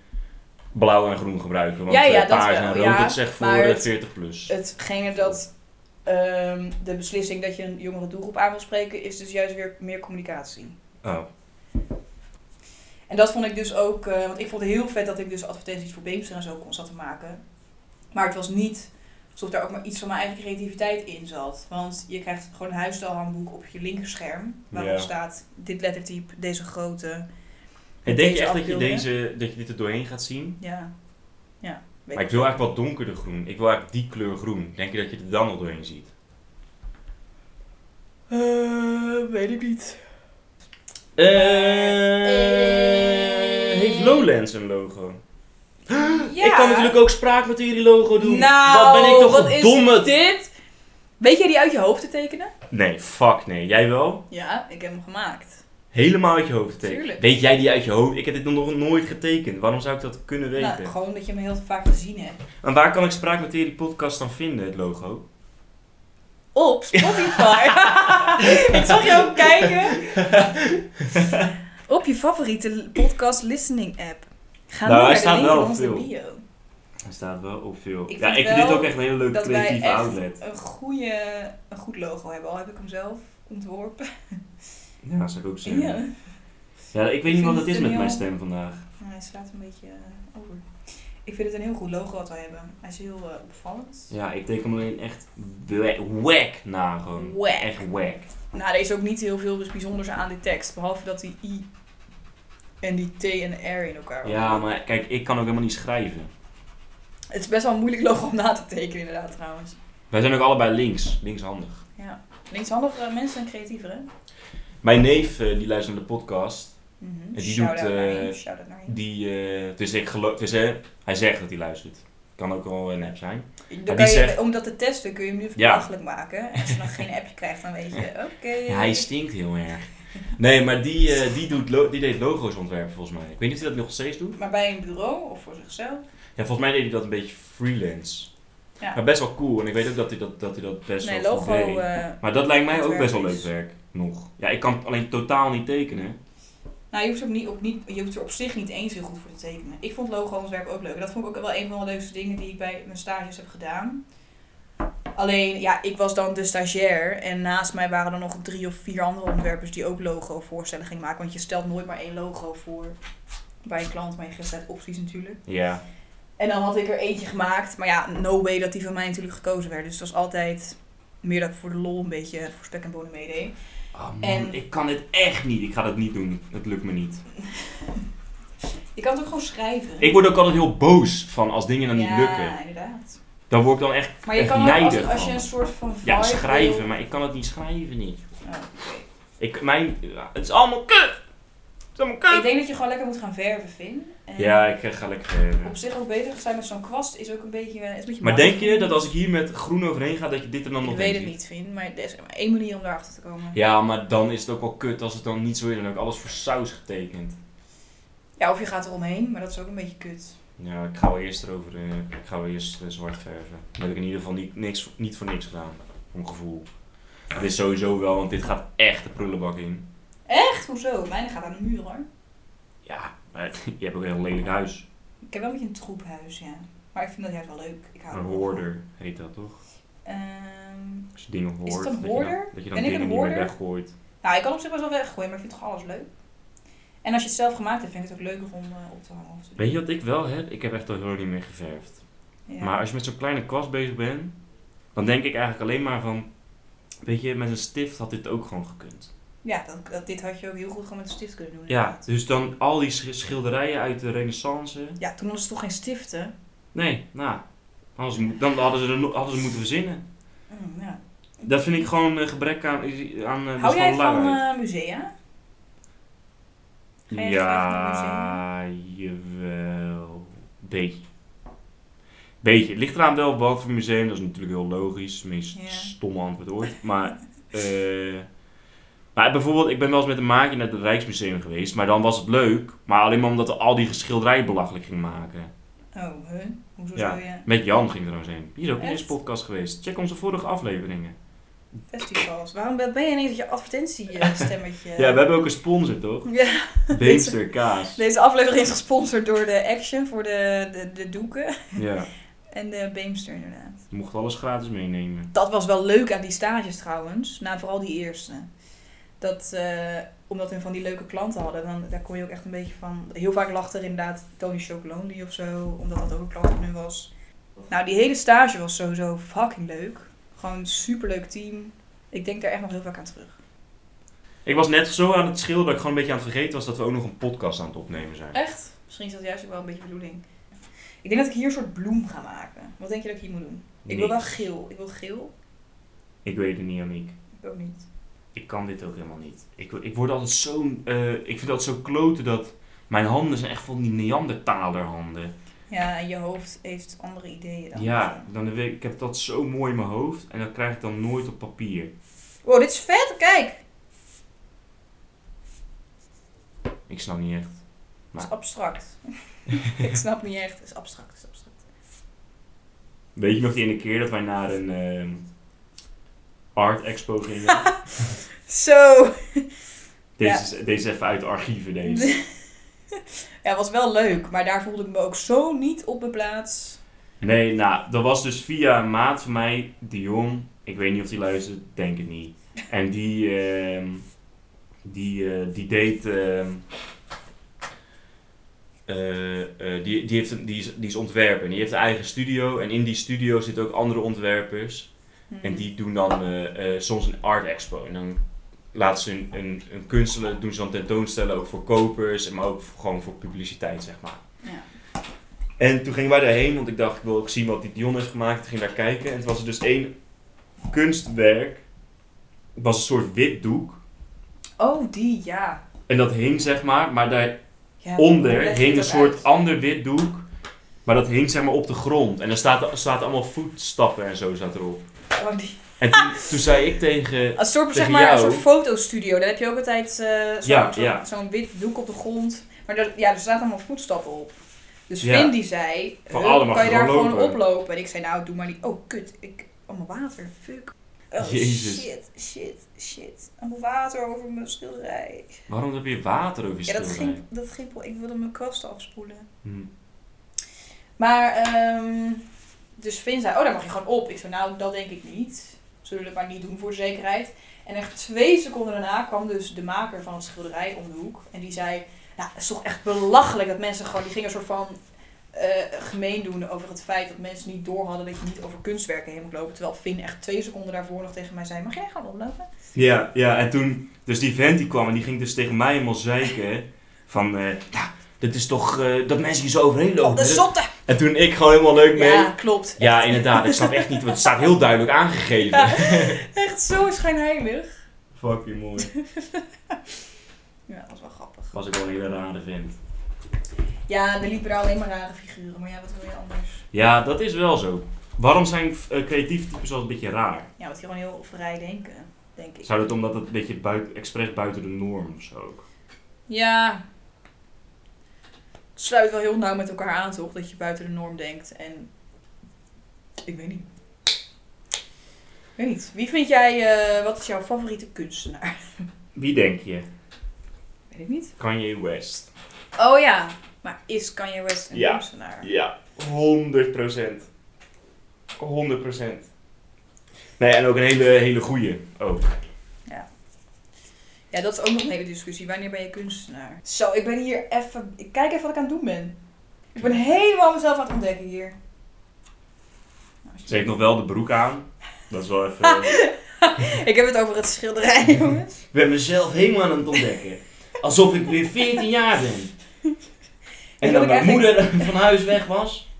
blauw en groen gebruiken. Want
Ja, ja,
eh,
dat
paars en
wel,
rood,
ja.
dat zegt voor
Maar
eh,
het-
40 plus.
hetgene dat ehm, de beslissing dat je een jongere doelgroep aan wil spreken, is dus juist weer meer communicatie.
Oh.
En dat vond ik dus ook, eh, want ik vond het heel vet dat ik dus advertenties voor Beemster en zo kon zat te maken. Maar het was niet alsof daar ook maar iets van mijn eigen creativiteit in zat. Want je krijgt gewoon een huisstijlhandboek op je linkerscherm, waarop
Ja.
staat dit lettertype, deze grootte.
En
Met
denk je
deze
echt dat je,
afbeeldingen?
deze, dat je dit er doorheen gaat zien?
Ja, ja. weet
Maar ik wil eigenlijk wat donkerder groen. Ik wil eigenlijk die kleur groen. Denk je dat je er dan al doorheen ziet?
Eh, weet ik niet. eh.
heeft Lowlands een logo?
Ja.
Ik kan natuurlijk ook spraakmaterie logo doen.
Nou,
wat ben ik toch een
is
domme...
dit? Weet jij die uit je hoofd te tekenen?
Nee, fuck nee. Jij wel?
Ja, ik heb hem gemaakt.
Helemaal uit je hoofd tekenen.
Tuurlijk.
Weet jij die uit je hoofd? Ik heb dit nog nooit getekend. Waarom zou ik dat kunnen weten?
Nou, gewoon dat je hem heel vaak gezien hebt.
en waar kan ik spraakmaterie podcast dan vinden, het logo?
op Spotify. ik zag je ook kijken. op je favoriete podcast listening app. Ga
Nou,
nu
hij
naar
staat
de link
wel
in
op
onze
veel.
bio.
Hij staat wel op veel.
Ik
ja,
vind
ik vind dit
wel
ook echt een hele leuke
Dat wij
creatieve
echt
outlet.
een, goede, een goed logo hebben. Al heb ik hem zelf ontworpen.
Ja, dat zou ik ook
Ja.
zeggen. Ja, ik weet niet
vind
wat het
het
is
een
met
heel-
mijn stem vandaag.
Maar hij slaat een beetje eh, over. Ik vind het een heel goed logo wat wij hebben. Hij is heel eh, opvallend.
Ja, ik teken hem alleen echt wa- wack na gewoon.
Wack.
Echt wack.
Nou, er is ook niet heel veel bijzonders aan die tekst. Behalve dat die I en die T en R in elkaar
Ja, maar kijk, ik kan ook helemaal niet schrijven.
Het is best wel een moeilijk logo om na te tekenen inderdaad trouwens.
Wij zijn ook allebei links, linkshandig.
Ja. Linkshandige mensen zijn creatiever hè?
Mijn neef, eh, die luistert naar de podcast,
Mhm.
die
Shout-out
doet,
naar
eh,
hem, shout-out naar hem.
die, eh dus ik geloof, dus hè, hij zegt dat hij luistert. Kan ook wel een app zijn.
Dan
die
kan je,
zegt-
Om dat te testen kun je hem nu
Ja.
belachelijk maken. En als je dan geen appje krijgt, dan weet je, oké.
Ja, hij stinkt heel erg. Nee, maar die, eh, die, doet lo- die deed logo's ontwerpen volgens mij. Ik weet niet of hij dat nog steeds doet.
Maar bij een bureau of voor zichzelf.
Ja, volgens mij deed hij dat een beetje freelance.
Ja.
Maar best wel cool. En ik weet ook dat hij dat, dat, hij dat best
nee,
wel goed
logo.
deed.
eh,
Maar dat lijkt mij ook best wel leuk
ontwerp is-
werk. Nog. Ja, ik kan alleen totaal niet tekenen.
nou, je hoeft, er ook niet, ook niet, je hoeft er op zich niet eens heel goed voor te tekenen. Ik vond logo-ontwerp ook leuk. Dat vond ik ook wel een van de leukste dingen die ik bij mijn stages heb gedaan. Alleen, ja, ik was dan de stagiair. En naast mij waren er nog drie of vier andere ontwerpers die ook logo-voorstellen gingen maken. Want je stelt nooit maar één logo voor bij een klant. Maar je geeft altijd opties natuurlijk.
Ja.
En dan had ik er eentje gemaakt. Maar ja, no way dat die van mij natuurlijk gekozen werd. Dus het was altijd meer dat ik voor de lol een beetje voor spek en bonen meedeed.
Oh man,
En-
ik kan dit echt niet. Ik ga dat niet doen. Het lukt me niet.
Je kan het ook gewoon schrijven.
Ik word ook altijd heel boos van als dingen dan niet lukken.
Ja, inderdaad.
Dan word ik dan echt,
Maar je
echt
kan ook als,
nijdig
als je
van.
een soort van
Ja,
vibe
schrijven.
wil-
Maar ik kan het niet schrijven niet.
Oh, oké.
Ik, mijn, ja, het is allemaal kut. Het is allemaal kut.
Ik denk dat je gewoon lekker moet gaan verven, Vin. En
Ja, ik eh, ga lekker geven.
Op zich ook bezig zijn met zo'n kwast is ook een beetje... eh, Is een beetje
Maar denk je
mindfulness.
dat als ik hier met groen overheen ga, dat je dit er dan nog
Ik weet
in
het
ziet?
niet, Vin. Maar er is maar één manier om daarachter te komen.
Ja, maar dan is het ook wel kut als het dan niet zo is. Dan heb ik alles voor saus getekend.
Ja, of je gaat eromheen, maar dat is ook een beetje kut.
Ja, ik ga wel eerst erover. eh, ik ga wel eerst eh, zwart verven. Dan heb ik in ieder geval niet, niks, niet voor niks gedaan. Voor mijn gevoel. Dit is sowieso wel, want dit gaat echt de prullenbak in.
Echt, hoezo? Mijn gaat aan de muur, hoor.
Ja, maar je hebt ook een heel lelijk huis.
Ik heb wel een beetje een troephuis, ja. Maar ik vind dat juist wel leuk. Ik hou
Een
er wel van.
hoorder heet dat toch?
Ehm,
Als je dingen hoort.
Is het een
dat je dan-
hoorder?
Dat je dan,
Ben ik een
dingen niet meer
hoorder?
weggooit.
nou, ik kan op zich best wel weggooien, maar ik vind toch alles leuk. En als je het zelf gemaakt hebt, vind ik het ook leuker om eh, op te hangen. Of te doen.
Weet je wat ik wel heb? Ik heb echt al heel lang niet meer geverfd.
Ja.
Maar als je met zo'n kleine kwast bezig bent, dan denk ik eigenlijk alleen maar van. Weet je, met een stift had dit ook gewoon gekund.
Ja, dat, dat, dit had je ook heel goed gewoon met een stift kunnen doen.
Ja,
inderdaad.
dus dan al die sch- schilderijen uit de Renaissance.
Ja, toen was het toch geen stiften?
Nee, nou. Anders, mo- dan hadden ze, er, no- hadden ze moeten verzinnen.
Mm, ja.
Dat vind ik gewoon een gebrek aan. is- aan eh, dat
Hou
is
jij
gewoon
van
luiheid.
eh, musea? ga jij
Ja,
graag
jawel. Beetje. Beetje. Het ligt eraan wel wat voor museum. Dat is natuurlijk heel logisch. Het meest
Ja.
stomme antwoord ooit. Maar, eh, maar bijvoorbeeld, ik ben wel eens met een maatje naar het Rijksmuseum geweest. Maar dan was het leuk. Maar alleen maar omdat we al die schilderijen belachelijk gingen maken.
Oh, huh? Hoezo
Ja.
zou je
Met Jan ging er trouwens heen. Die is ook in
Echt?
deze podcast geweest. Check onze vorige afleveringen.
festivals? Waarom ben ben je ineens dat je advertentiestemmetje...
Ja, we hebben ook een sponsor, toch?
Ja,
Beemster Kaas.
deze aflevering is gesponsord door de Action voor de, de, de doeken.
Ja,
En de Beemster inderdaad.
je mocht alles gratis meenemen.
Dat was wel leuk aan die stages trouwens. Nou, vooral die eerste. Dat, eh, omdat we van die leuke klanten hadden, dan, daar kon je ook echt een beetje van... Heel vaak lag er inderdaad Tony Chocolonely of zo, omdat dat ook een klant van hun was. Nou, die hele stage was sowieso fucking leuk. Gewoon een superleuk team. Ik denk daar echt nog heel vaak aan terug.
Ik was net zo aan het schilderen dat ik gewoon een beetje aan het vergeten was dat we ook nog een podcast aan het opnemen zijn.
Echt? Misschien is dat juist ook wel een beetje bedoeling. Ik denk dat ik hier een soort bloem ga maken. Wat denk je dat ik hier moet doen? Ik wil wel
Niks.
geel. Ik wil geel.
Ik weet het niet, Aniek.
Ik ook niet.
Ik kan dit ook helemaal niet. Ik, ik word altijd zo... eh, ik vind dat zo kloten dat... Mijn handen zijn echt van die Neandertalerhanden.
Ja, en je hoofd heeft andere ideeën dan.
Ja, dan heb ik, ik heb dat zo mooi in mijn hoofd en dat krijg ik dan nooit op papier.
Wow, dit is vet. Kijk.
Ik snap niet echt.
Het is abstract. ik snap niet echt. Het is abstract. Het is abstract.
Weet je nog die ene keer dat wij naar een... ehm, art expo gingen.
Zo.
Deze,
Ja.
is, deze is even uit de archieven, deze.
ja, was wel leuk, maar daar voelde ik me ook zo niet op mijn plaats.
Nee, nou, dat was dus via een maat van mij, Dion. Ik weet niet of die luistert, denk het niet. En die, ehm, die, eh, die deed. ehm, eh, eh, die, die, heeft een, die, is, die is ontwerper. En die heeft een eigen studio. En in die studio zitten ook andere ontwerpers.
Hmm.
En die doen dan eh, eh, soms een art expo. En dan laten ze een, een, een kunstenaar, doen ze dan tentoonstellen ook voor kopers. Maar ook voor- gewoon voor publiciteit, zeg maar.
Ja.
En toen gingen wij daarheen, want ik dacht, ik wil ook zien wat die Dion heeft gemaakt. Ik ging daar kijken en het was er dus één kunstwerk. Het was een soort wit doek.
Oh, die, ja.
En dat hing zeg maar, maar daaronder
ja leg je
hing een
dat
soort
uit?
ander wit doek. Maar dat hing zeg maar op de grond. En er staat, staat allemaal voetstappen en zo staat erop.
Oh, die-
En toen, toen zei ik tegen...
Als soort, zeg
Tegen
maar, een
jou?
soort fotostudio. Dan heb je ook altijd eh, zo'n
Ja,
zo'n-
ja.
zo'n wit doek op de grond. Maar er, ja, er staat allemaal voetstappen op. Dus
Ja.
Vin die zei,
Van,
"Hup,
ah, dan mag
kan je
je
daar
gewoon
gewoon
lopen."
oplopen? En ik zei, nou, doe maar niet. Oh, kut. Ik, allemaal water. Fuck. Oh,
Jezus.
shit, shit, shit. Allemaal water over mijn schilderij.
Waarom heb je water over je
Ja, dat
schilderij?
ging, dat ging... wel- Ik wilde mijn kwasten afspoelen.
Hm.
Maar, ehm, dus Finn zei, oh, daar mag je gewoon op. Ik zei, nou, dat denk ik niet. Zullen we dat maar niet doen voor de zekerheid. En echt twee seconden daarna kwam dus de maker van het schilderij om de hoek. En die zei, nou, het is toch echt belachelijk dat mensen gewoon... Die gingen een soort van eh, gemeen doen over het feit dat mensen niet door hadden dat je niet over kunstwerken heen moet lopen. Terwijl Finn echt twee seconden daarvoor nog tegen mij zei, mag jij gaan oplopen?
Ja, ja, en toen, dus die vent die kwam en die ging dus tegen mij helemaal zeiken van, eh ja, dat is toch, eh, dat mensen hier zo overheen
Van
lopen.
de zotte!
En toen ik gewoon helemaal leuk mee.
Ja,
Ja,
klopt.
inderdaad, ik snap echt niet, want het staat heel duidelijk aangegeven.
Ja. Echt zo schijnheilig.
Fucking mooi.
Ja, dat was wel grappig.
Was ik wel heel raar aan de vent.
Ja, er liepen daar alleen maar rare figuren. Maar ja, wat wil je anders?
Ja, dat is wel zo. Waarom zijn eh, creatieve types wel een beetje raar?
Ja, want die gewoon heel vrij denken, denk ik.
Zou dat omdat het een beetje buiten, expres buiten de norm of zo ook?
Ja. Het sluit wel heel nauw met elkaar aan, toch? Dat je buiten de norm denkt. En ik weet niet. Ik weet niet. Wie vind jij, eh, wat is jouw favoriete kunstenaar?
Wie denk je?
Weet ik niet.
Kanye West.
Oh ja, maar is Kanye West een
Ja.
kunstenaar?
Ja, 100 procent. 100 procent. Nee, en ook een hele, hele goeie Oh, ook.
Ja, dat is ook nog een hele discussie. Wanneer ben je kunstenaar? Zo, ik ben hier even... Ik kijk even wat ik aan het doen ben. Ik ben helemaal mezelf aan het ontdekken hier. Nou, als
Ze
je-
heeft nog wel de broek aan. Dat is wel even...
Ik heb het over het schilderij, jongens.
Ik ben mezelf helemaal aan het ontdekken. Alsof ik weer 14 jaar ben. En
dat
dat
ik
mijn
eigenlijk-
moeder van huis weg was.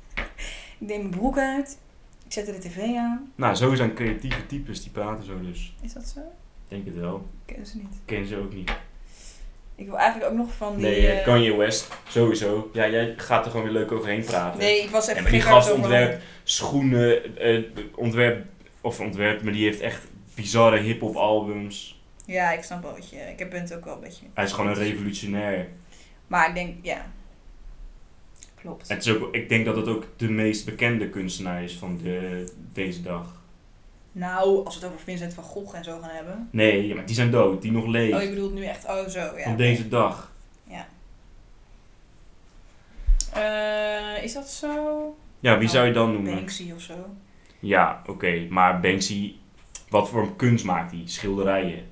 Ik neem mijn broek uit. Ik zette de tv aan.
Nou, zo zijn creatieve types, die praten zo dus.
Is dat zo?
Ik denk het wel.
Ik ken ze niet.
Ik ken ze ook niet.
Ik wil eigenlijk ook nog van die...
Nee,
eh,
eh, Kanye West, sowieso. Ja, jij gaat er gewoon weer leuk overheen praten.
Nee, ik was
Ja,
even
maar die
vergeten
gast
waar het over
ontwerpt schoenen, eh, ontwerp, of ontwerp, maar die heeft echt bizarre hip-hop albums.
had. Ja, ik snap wel wat je... Ik ben het ook wel een beetje...
Hij is gewoon een revolutionair.
Maar ik denk, ja. Klopt.
Het is ook, ik denk dat het ook de meest bekende kunstenaar is van de, deze dag.
Nou, als we het over Vincent van Gogh en zo gaan hebben.
Nee, ja, maar die zijn dood, die nog leeft.
Oh, je bedoelt nu echt... Oh, zo, ja.
Op deze dag.
Eh, is dat zo?
Ja, wie zou je
Oh,
dan noemen?
Banksy of zo?
Ja, oké. Maar Banksy, wat voor een kunst maakt hij? Schilderijen.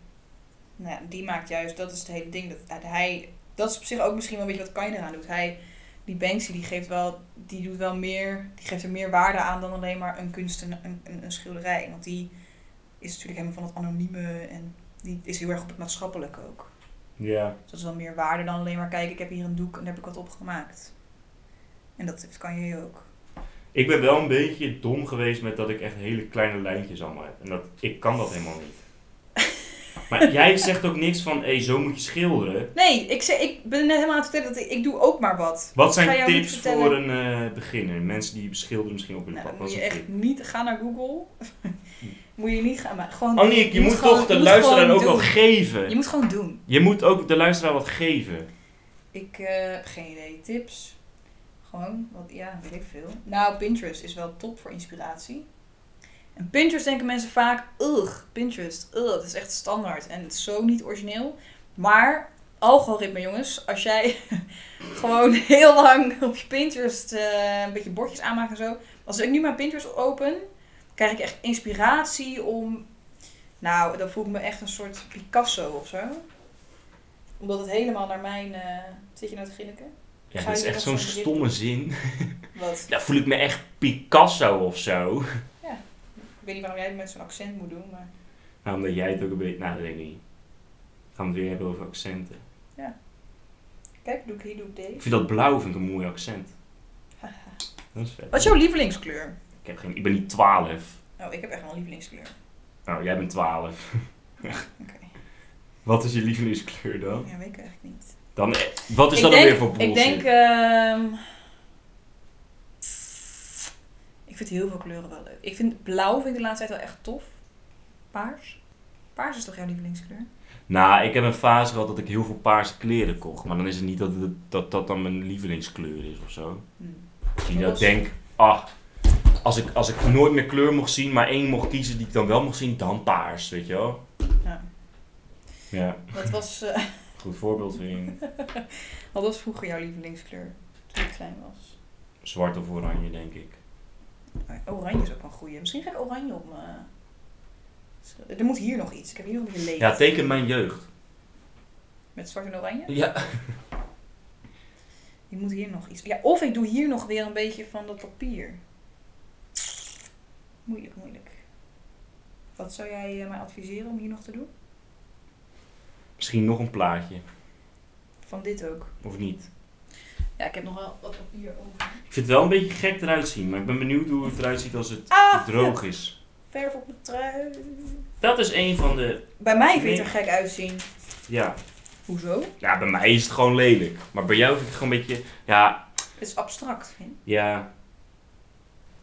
Nou ja, die maakt juist, dat is het hele ding. Dat, dat hij, dat is op zich ook misschien wel een beetje wat Kanye eraan doet. Hij, die Banksy, die geeft wel, die doet wel meer, die geeft er meer waarde aan dan alleen maar een kunst en een, een, een schilderij. Want die is natuurlijk helemaal van het anonieme en die is heel erg op het maatschappelijke ook.
Ja.
Dus dat is wel meer waarde dan alleen maar kijken, ik heb hier een doek en daar heb ik wat op gemaakt. En dat heeft Kanye ook.
Ik ben wel een beetje dom geweest met dat ik echt hele kleine lijntjes allemaal heb. En dat, ik kan dat helemaal niet. Maar jij zegt ook niks van, hé, zo moet je schilderen.
Nee, ik, zei, ik ben net helemaal aan het vertellen dat ik, ik doe ook maar wat.
Wat
Ga
zijn
jou niet
tips
vertellen.
voor een eh, beginner? Mensen die beschilderen misschien op hun
Nou,
pad.
dan
Wat
moet
is
je
een
echt
tip?
niet gaan naar Google. moet je niet gaan, maar gewoon.
Aniek, je moet
gewoon-
toch de
je moet
luisteraar
gewoon
ook wat
doen. Je
geven.
moet gewoon doen.
Je moet ook de luisteraar wat geven.
Ik eh, heb geen idee. Tips. Gewoon, wat, ja, weet ik veel. Nou, Pinterest is wel top voor inspiratie. En Pinterest denken mensen vaak, ugh, Pinterest, ugh, dat is echt standaard en het is zo niet origineel. Maar, algoritme jongens, als jij gewoon heel lang op je Pinterest eh, een beetje bordjes aanmaakt en zo. Als ik nu mijn Pinterest open, krijg ik echt inspiratie om, nou, dan voel ik me echt een soort Picasso of zo. Omdat het helemaal naar mijn, eh, zit je nou te grinniken?
Ja,
Ga
dat is
je
echt
dat
zo'n
zo direct
stomme zin.
Wat?
Daar voel ik me echt Picasso of zo.
Ik weet niet waarom jij het met zo'n accent moet doen, maar...
Nou, omdat jij het ook een beetje... Nou, dat denk ik niet. Gaan we het weer hebben over accenten.
Kijk, doe ik hier, doe ik
Ik
deze.
vind dat blauw vind ik een mooi accent. Dat is vet.
Wat is jouw lievelingskleur?
Ik, heb geen, ik ben niet 12.
Oh, ik heb echt wel een lievelingskleur.
Nou, jij bent 12.
Oké.
Wat is je lievelingskleur dan?
Ja, weet ik eigenlijk niet.
dan eh, Oh. wat is dat dan
denk,
weer voor bullshit?
Ik denk... ehm, ik vind heel veel kleuren wel leuk. Ik vind blauw vind ik de laatste tijd wel echt tof. Paars. Paars is toch jouw lievelingskleur?
Nou, ik heb een fase gehad dat ik heel veel paarse kleren kocht. Maar dan is het niet dat het- dat, dat dan mijn lievelingskleur is of zo.
Hm.
Dat ik dat
Roze.
denk, ah, als ik, als ik nooit meer kleur mocht zien, maar één mocht kiezen die ik dan wel mocht zien, dan paars, weet je wel?
Ja.
Ja,
Wat was, eh,
goed voorbeeld vind ik.
wat was vroeger jouw lievelingskleur? Toen je klein was.
Zwart of oranje, denk ik.
Nou, Oranje is ook wel een goeie. Misschien ga ik oranje op mijn... Er moet hier nog iets. Ik heb hier nog een beetje leeg.
Ja, teken mijn jeugd.
Met zwart en oranje?
Ja.
Ik moet hier nog iets. Ja, of ik doe hier nog weer een beetje van dat papier. Moeilijk, moeilijk. Wat zou jij eh, mij adviseren om hier nog te doen?
Misschien nog een plaatje,
Van dit ook.
of niet?
Ja, ik heb nog wel wat papier over.
Ik vind het wel een beetje gek eruit zien, maar ik ben benieuwd hoe het eruit ziet als het
Ah,
droog is.
verf op mijn trui.
Dat is een van de...
Bij mij vind je het er gek uitzien.
Ja.
Hoezo?
ja, bij mij is het gewoon lelijk. Maar bij jou vind ik het gewoon een beetje... Ja,
Het is abstract, vind ik.
Ja.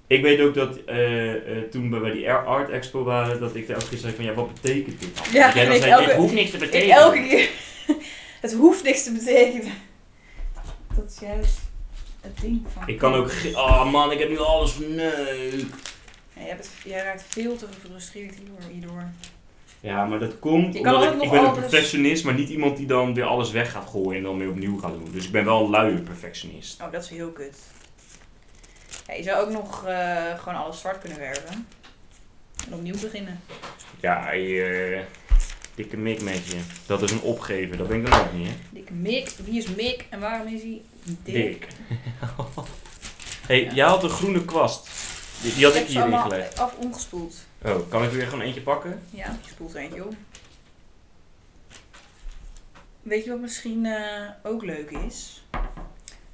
Ik weet ook dat eh, eh, toen we bij die Air Art Expo waren, dat ik daar ook gisteren zei van, ja, wat betekent dit dan?
Ja,
Dat jij
en
dan
ik
zei,
elke-
dit hoeft niks te
Ik
betekenen.
elke keer. het hoeft niks te betekenen. Dat is juist het ding van.
Ik kan ook, ge- oh man, ik heb nu alles verneukt.
Ja, jij, bent- jij raakt veel te gefrustreerd hierdoor. hierdoor.
Ja, maar dat komt
Je kan
omdat
ook
ik,
nog
ik ben een
alles-
perfectionist, maar niet iemand die dan weer alles weg gaat gooien en dan weer opnieuw gaat doen. Dus ik ben wel een luie perfectionist.
Oh, dat is heel kut. Ja, je zou ook nog eh, gewoon alles zwart kunnen werven. En opnieuw beginnen.
Ja, je, dikke mik met je. Dat is een opgeven, dat ben ik dan ook niet, hè?
Dikke Mick. Wie is Mick en waarom is hij dik?
Dik. hey,
Ja.
jij had een groene kwast. Die, die had ik
heb ze
hierin
allemaal
gelegd.
af ongespoeld.
Oh, kan ik er weer gewoon eentje pakken?
Ja, gespoeld eentje op. Weet je wat misschien eh, ook leuk is?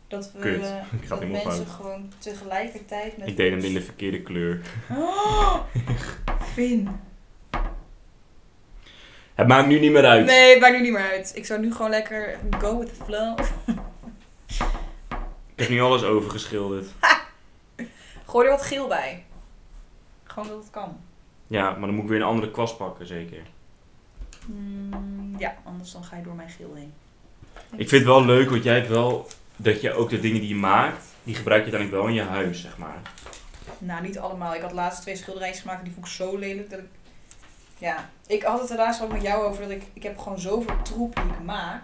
Dat we
Kut.
eh,
Ik ga
dat
hem
mensen
ophouden.
gewoon tegelijkertijd met
Ik deed hem
ons-
in de verkeerde kleur.
Oh, Vin.
Het maakt nu niet meer uit.
Nee, maakt nu niet meer uit. Ik zou nu gewoon lekker go with the flow.
Ik heb nu alles overgeschilderd.
Gooi er wat geel bij. Gewoon dat het kan.
Ja, maar dan moet ik weer een andere kwast pakken, zeker.
Mm, ja, anders dan ga je door mijn geel heen.
Ik vind het wel leuk, want jij hebt wel... Dat je ook de dingen die je maakt, die gebruik je dan wel in je huis, zeg maar.
Nou, niet allemaal. Ik had laatst twee schilderijtjes gemaakt en die vond ik zo lelijk dat ik... Ja, ik had het er laatst ook met jou over dat ik... Ik heb gewoon zoveel troep die ik maak,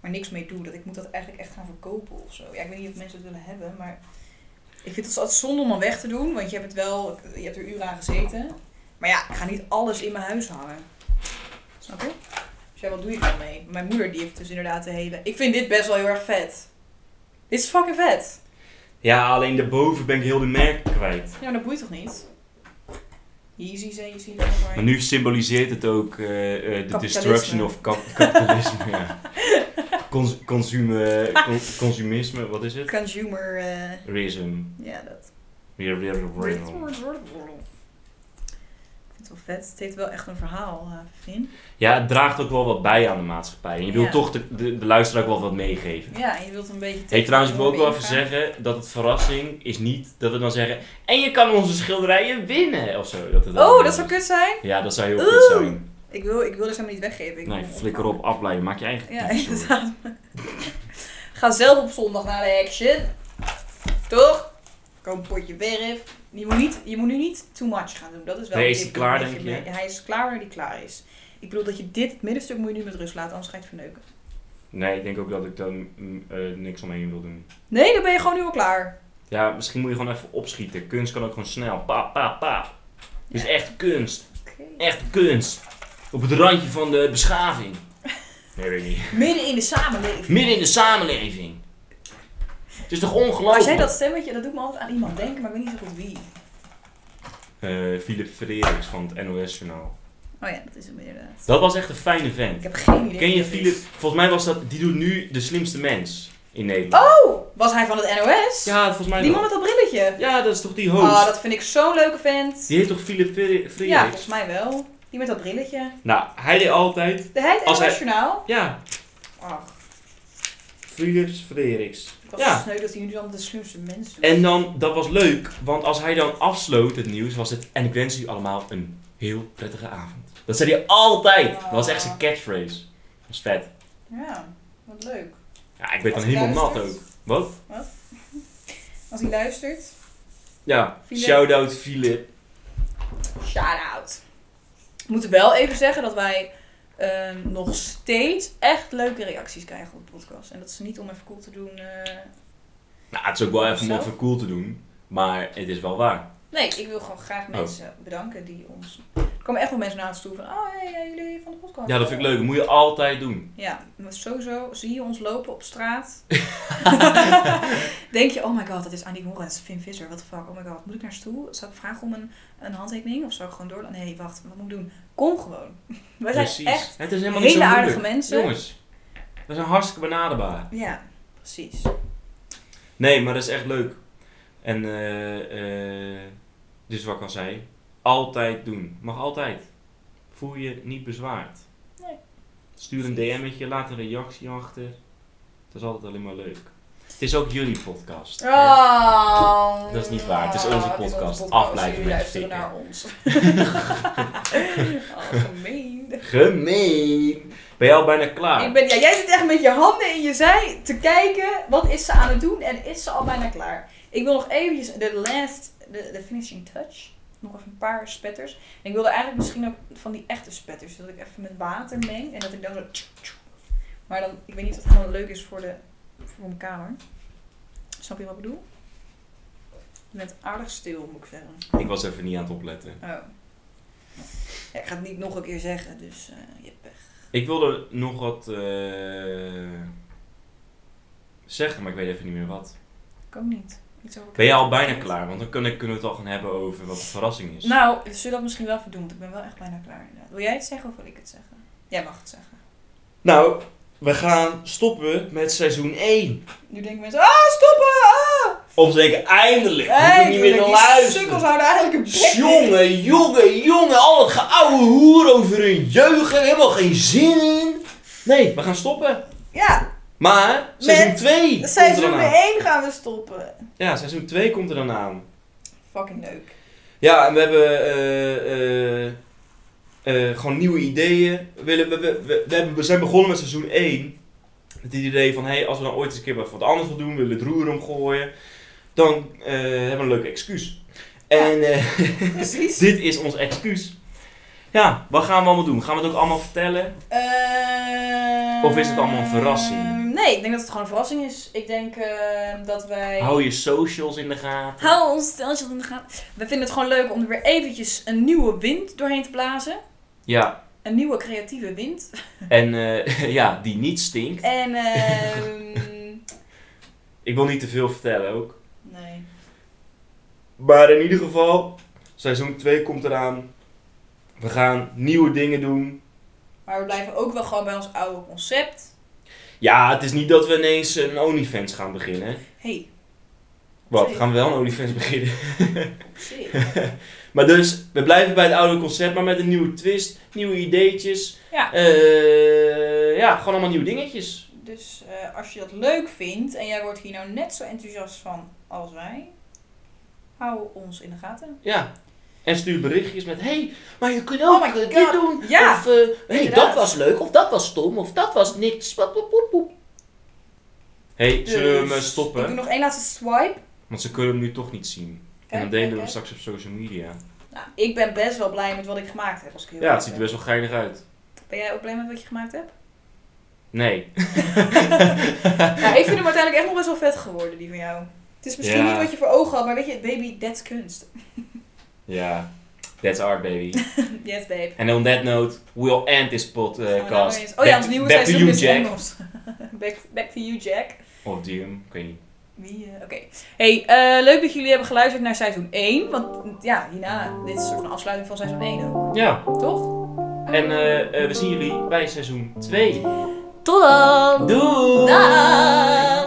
maar niks mee doe. Dat ik moet dat eigenlijk echt gaan verkopen of zo. Ja, ik weet niet of mensen het willen hebben, maar... Ik vind het altijd zonde om dan weg te doen, want je hebt het wel... Je hebt er uren aan gezeten. Maar ja, ik ga niet alles in mijn huis hangen. Snap je? Dus ja, wat doe je er dan mee? Mijn moeder die heeft dus inderdaad de hele... Ik vind dit best wel heel erg vet. Dit is fucking vet.
Ja, alleen daarboven ben ik heel de merk kwijt.
Ja, maar dat boeit toch niet? Yeezy zijn je ziet het maar.
Maar nu symboliseert het ook eh, eh, de
Kapitalisme.
destruction of kap- kapitalisme. ja. Cons- consume, con- consumisme, wat is het?
Consumer, eh,
Realism.
ja dat.
Weer, weer,
Ik
weer.
vind het wel vet. Het heeft wel echt een verhaal, eh Vin.
Ja, het draagt ook wel wat bij aan de maatschappij. En je wilt
Ja.
toch de, de, de luisteraar ook wel wat meegeven.
Ja, en je wilt een beetje...
Hey,
tegen
trouwens,
de
ik wil ook wel
normen
even
ingaan.
zeggen dat het verrassing is niet dat we dan zeggen... En je kan onze schilderijen winnen, of zo. Dat het dan-
Oh, dat zou kut zijn?
Ja, dat zou heel
Oeh.
goed zijn.
Ik wil, ik wil dus helemaal niet weggeven. Ik
Nee,
wil-
flikker op, afblijven. Maak je eigen
Ja,
tyfus, hoor.
inderdaad. Ga zelf op zondag naar de action. Toch? Koop een potje verf. Je moet, niet, je moet nu niet too much gaan doen. Dat is wel
Nee,
een
is hij
tip
klaar,
dat
denk je?
mee- Hij is klaar wanneer hij klaar is. Ik bedoel dat je dit, het middenstuk, moet je nu met rust laten, anders ga je het verneuken.
Nee, ik denk ook dat ik daar mm, eh, niks omheen wil doen.
Nee, dan ben je gewoon nu al klaar.
Ja, misschien moet je gewoon even opschieten. Kunst kan ook gewoon snel. Pa, pa, pa. Het is echt kunst. Echt kunst. Op het randje van de beschaving. Nee, weet ik niet.
Midden in de samenleving.
Midden in de samenleving. Het is toch ongelooflijk?
Als jij dat stemmetje, dat doet me altijd aan iemand denken, maar ik weet niet zo goed wie.
Eh, Philip Frerichs van het NOS Journaal.
Oh ja, dat is hem inderdaad.
Dat was echt een fijne vent.
Ik heb geen idee.
Ken je
wie dat is.
Philip? Volgens mij was dat... Die doet nu de slimste mens in Nederland.
Oh, was hij van het NOS?
Ja, volgens mij
Die man
wel.
met dat brilletje.
Ja, dat is toch die host?
Oh, dat vind ik zo'n leuke vent.
Die heet toch Philip Fre- Frerichs?
Ja, volgens mij wel. Die met dat brilletje.
Nou, hij deed altijd...
De het
Als hij-
internationaal.
Ja,
Ach,
Philip Frerichs.
ik was
Ja.
sneu dat hij nu dan de slimste mens doet.
En dan, dat was leuk, want als hij dan afsloot het nieuws, was het... En ik wens u allemaal een heel prettige avond. Dat zei hij altijd. Dat was echt zijn catchphrase. Dat was vet.
Ja, wat leuk.
Ja, ik werd dan
Als hij
helemaal nat ook.
luistert.
Wat?
Als hij luistert,
Ja,
Philip.
shout-out Philip.
shout-out. Ik moet wel even zeggen dat wij ehm, nog steeds echt leuke reacties krijgen op de podcast. En dat is niet om even cool te doen. eh.
Nou, het is ook wel even om
Zo?
even cool te doen, maar het is wel waar.
Nee, ik wil gewoon
Oh.
graag mensen bedanken die ons... Er komen echt wel mensen naar ons toe van... Oh, hey, hey, jullie van de podcast.
Ja, dat vind ik leuk. Dat moet je altijd doen.
Ja, maar sowieso zie je ons lopen op straat. Denk je, oh my god, dat is Annie Morris, Finn Visser, what the fuck, oh my god, moet ik naar ze toe? Zal ik vragen om een, een handtekening of zal ik gewoon door? Nee, wacht, wat moet ik doen? Kom gewoon. Wij zijn echt
Het is helemaal niet zo
hele
moeilijk.
aardige mensen.
Jongens, we zijn hartstikke benaderbaar.
Ja, precies.
Nee, maar dat is echt leuk. En eh, eh, dus wat ik al zei, altijd doen. Mag altijd. Voel je niet bezwaard.
Nee.
Stuur een DM'tje, laat een reactie achter. Dat is altijd alleen maar leuk. Het is ook jullie podcast.
Oh,
Dat is niet waar, het is onze podcast. Af
Afblijven
blijven
Jullie
met
luisteren
fikken.
naar ons. oh, gemeen.
Gemeen. Ben jij al bijna klaar?
Ik ben, ja, jij zit echt met je handen in je zij te kijken. Wat is ze aan het doen? En is ze al bijna klaar? Ik wil nog eventjes de last, de, de finishing touch. Nog even een paar spetters. En ik wilde eigenlijk misschien ook van die echte spetters. Dat ik even met water meng. En dat ik dan zo... tjoe, tjoe. Maar dan, ik weet niet of het gewoon leuk is voor, de, voor mijn kamer. Snap je wat ik bedoel? Je bent aardig stil, moet ik zeggen.
Ik was even niet aan het opletten.
Oh. Ja, ik ga het niet nog een keer zeggen, dus eh, je hebt pech.
Ik wilde nog wat eh, zeggen, maar ik weet even niet meer wat.
Ik ook niet. Iets over
Ben jij al bijna klaar? Want dan kunnen, kunnen we het al gaan hebben over wat de verrassing is.
Nou, we zullen dat misschien wel verdoemd. Ik ben wel echt bijna klaar. inderdaad. Wil jij het zeggen of wil ik het zeggen? Jij mag het zeggen.
Nou, we gaan stoppen met seizoen 1.
Nu denken mensen, ah, stoppen! Ah!
Of ze denken, eindelijk,
Hey,
moet ik niet meer naar
die
luisteren.
Sukkels houden eigenlijk een bek in.
Jongen, jongen, jongen, al het geouwe hoer over hun jeugd, er helemaal geen zin in. Nee, we gaan stoppen.
Ja,
Maar, seizoen 2 komt er
seizoen
dan aan.
1 gaan we stoppen.
Ja, seizoen 2 komt er dan aan.
Fucking leuk.
Ja, en we hebben eh, eh, eh, gewoon nieuwe ideeën. We, willen- we, we, we, we hebben- we zijn begonnen met seizoen 1. Met het idee van, hey, als we dan ooit eens een keer wat anders willen doen, we willen het roer omgooien, dan eh, hebben we een leuk excuus. En eh,
Precies.
dit is ons excuus. Ja, wat gaan we allemaal doen? Gaan we het ook allemaal vertellen?
Eh, ehm,
Of is het allemaal een verrassing?
Nee, ik denk dat het gewoon een verrassing is. Ik denk eh, dat wij...
Hou je socials in de gaten.
Hou ons steltje in de gaten. We vinden het gewoon leuk om er weer eventjes een nieuwe wind doorheen te blazen.
Ja,
Een nieuwe creatieve wind.
en eh, ja, die niet stinkt.
En ehm
Ik wil niet te veel vertellen ook.
nee.
Maar in ieder geval, seizoen 2 komt eraan. We gaan nieuwe dingen doen.
Maar we blijven ook wel gewoon bij ons oude concept.
Ja, het is niet dat we ineens een OnlyFans gaan beginnen.
Hey,
Wat,
Zeker.
gaan we wel een OnlyFans beginnen?
op zich.
Maar dus, we blijven bij het oude concept, maar met een nieuwe twist, nieuwe ideetjes.
Ja.
Eh, ja, gewoon allemaal nieuwe dingetjes.
dus eh, als je dat leuk vindt en jij wordt hier nou net zo enthousiast van als wij, hou ons in de gaten.
Ja. En stuur berichtjes met, hey, maar je kunt
Oh
ook
my
eh,
God.
dit doen.
Ja,
Of, eh, hey,
inderdaad.
dat was leuk, of dat was stom, of dat was niks. Wat, wat, wat, wat. hey, zullen we
Dus
hem eh,
Ik doe
stoppen?
nog één laatste swipe.
Want ze kunnen hem nu toch niet zien.
Kijk,
En dan
Kijk,
delen we
kijk,
het straks op social media.
Nou, ik ben best wel blij met wat ik gemaakt heb. Als ik heel
Ja, het
eerlijk
ziet er
ben.
best wel geinig uit.
Ben jij ook blij met wat je gemaakt hebt?
Nee.
nou, ik vind hem uiteindelijk echt nog best wel vet geworden, die van jou. Het is misschien
Ja.
niet wat je voor ogen had, maar weet je, baby, that's kunst.
Ja. That's art, baby.
yes, babe.
And on that note, we'll end this
Gaan we nou weer
podcast.
eens- oh ja,
eh, Back
ons
to-
nieuwe
back to
seizoen
you,
is
Jack.
Engels. back, back to you, Jack.
Of Doom, ik weet niet.
Wie, eh, Oké. Hey, eh, leuk dat jullie hebben geluisterd naar seizoen 1. Want mm, ja, hierna, dit is een soort van afsluiting van seizoen 1 ook.
Ja,
Toch?
en eh, eh, we zien jullie bij seizoen 2.
Tot dan!
Doei!
Dag!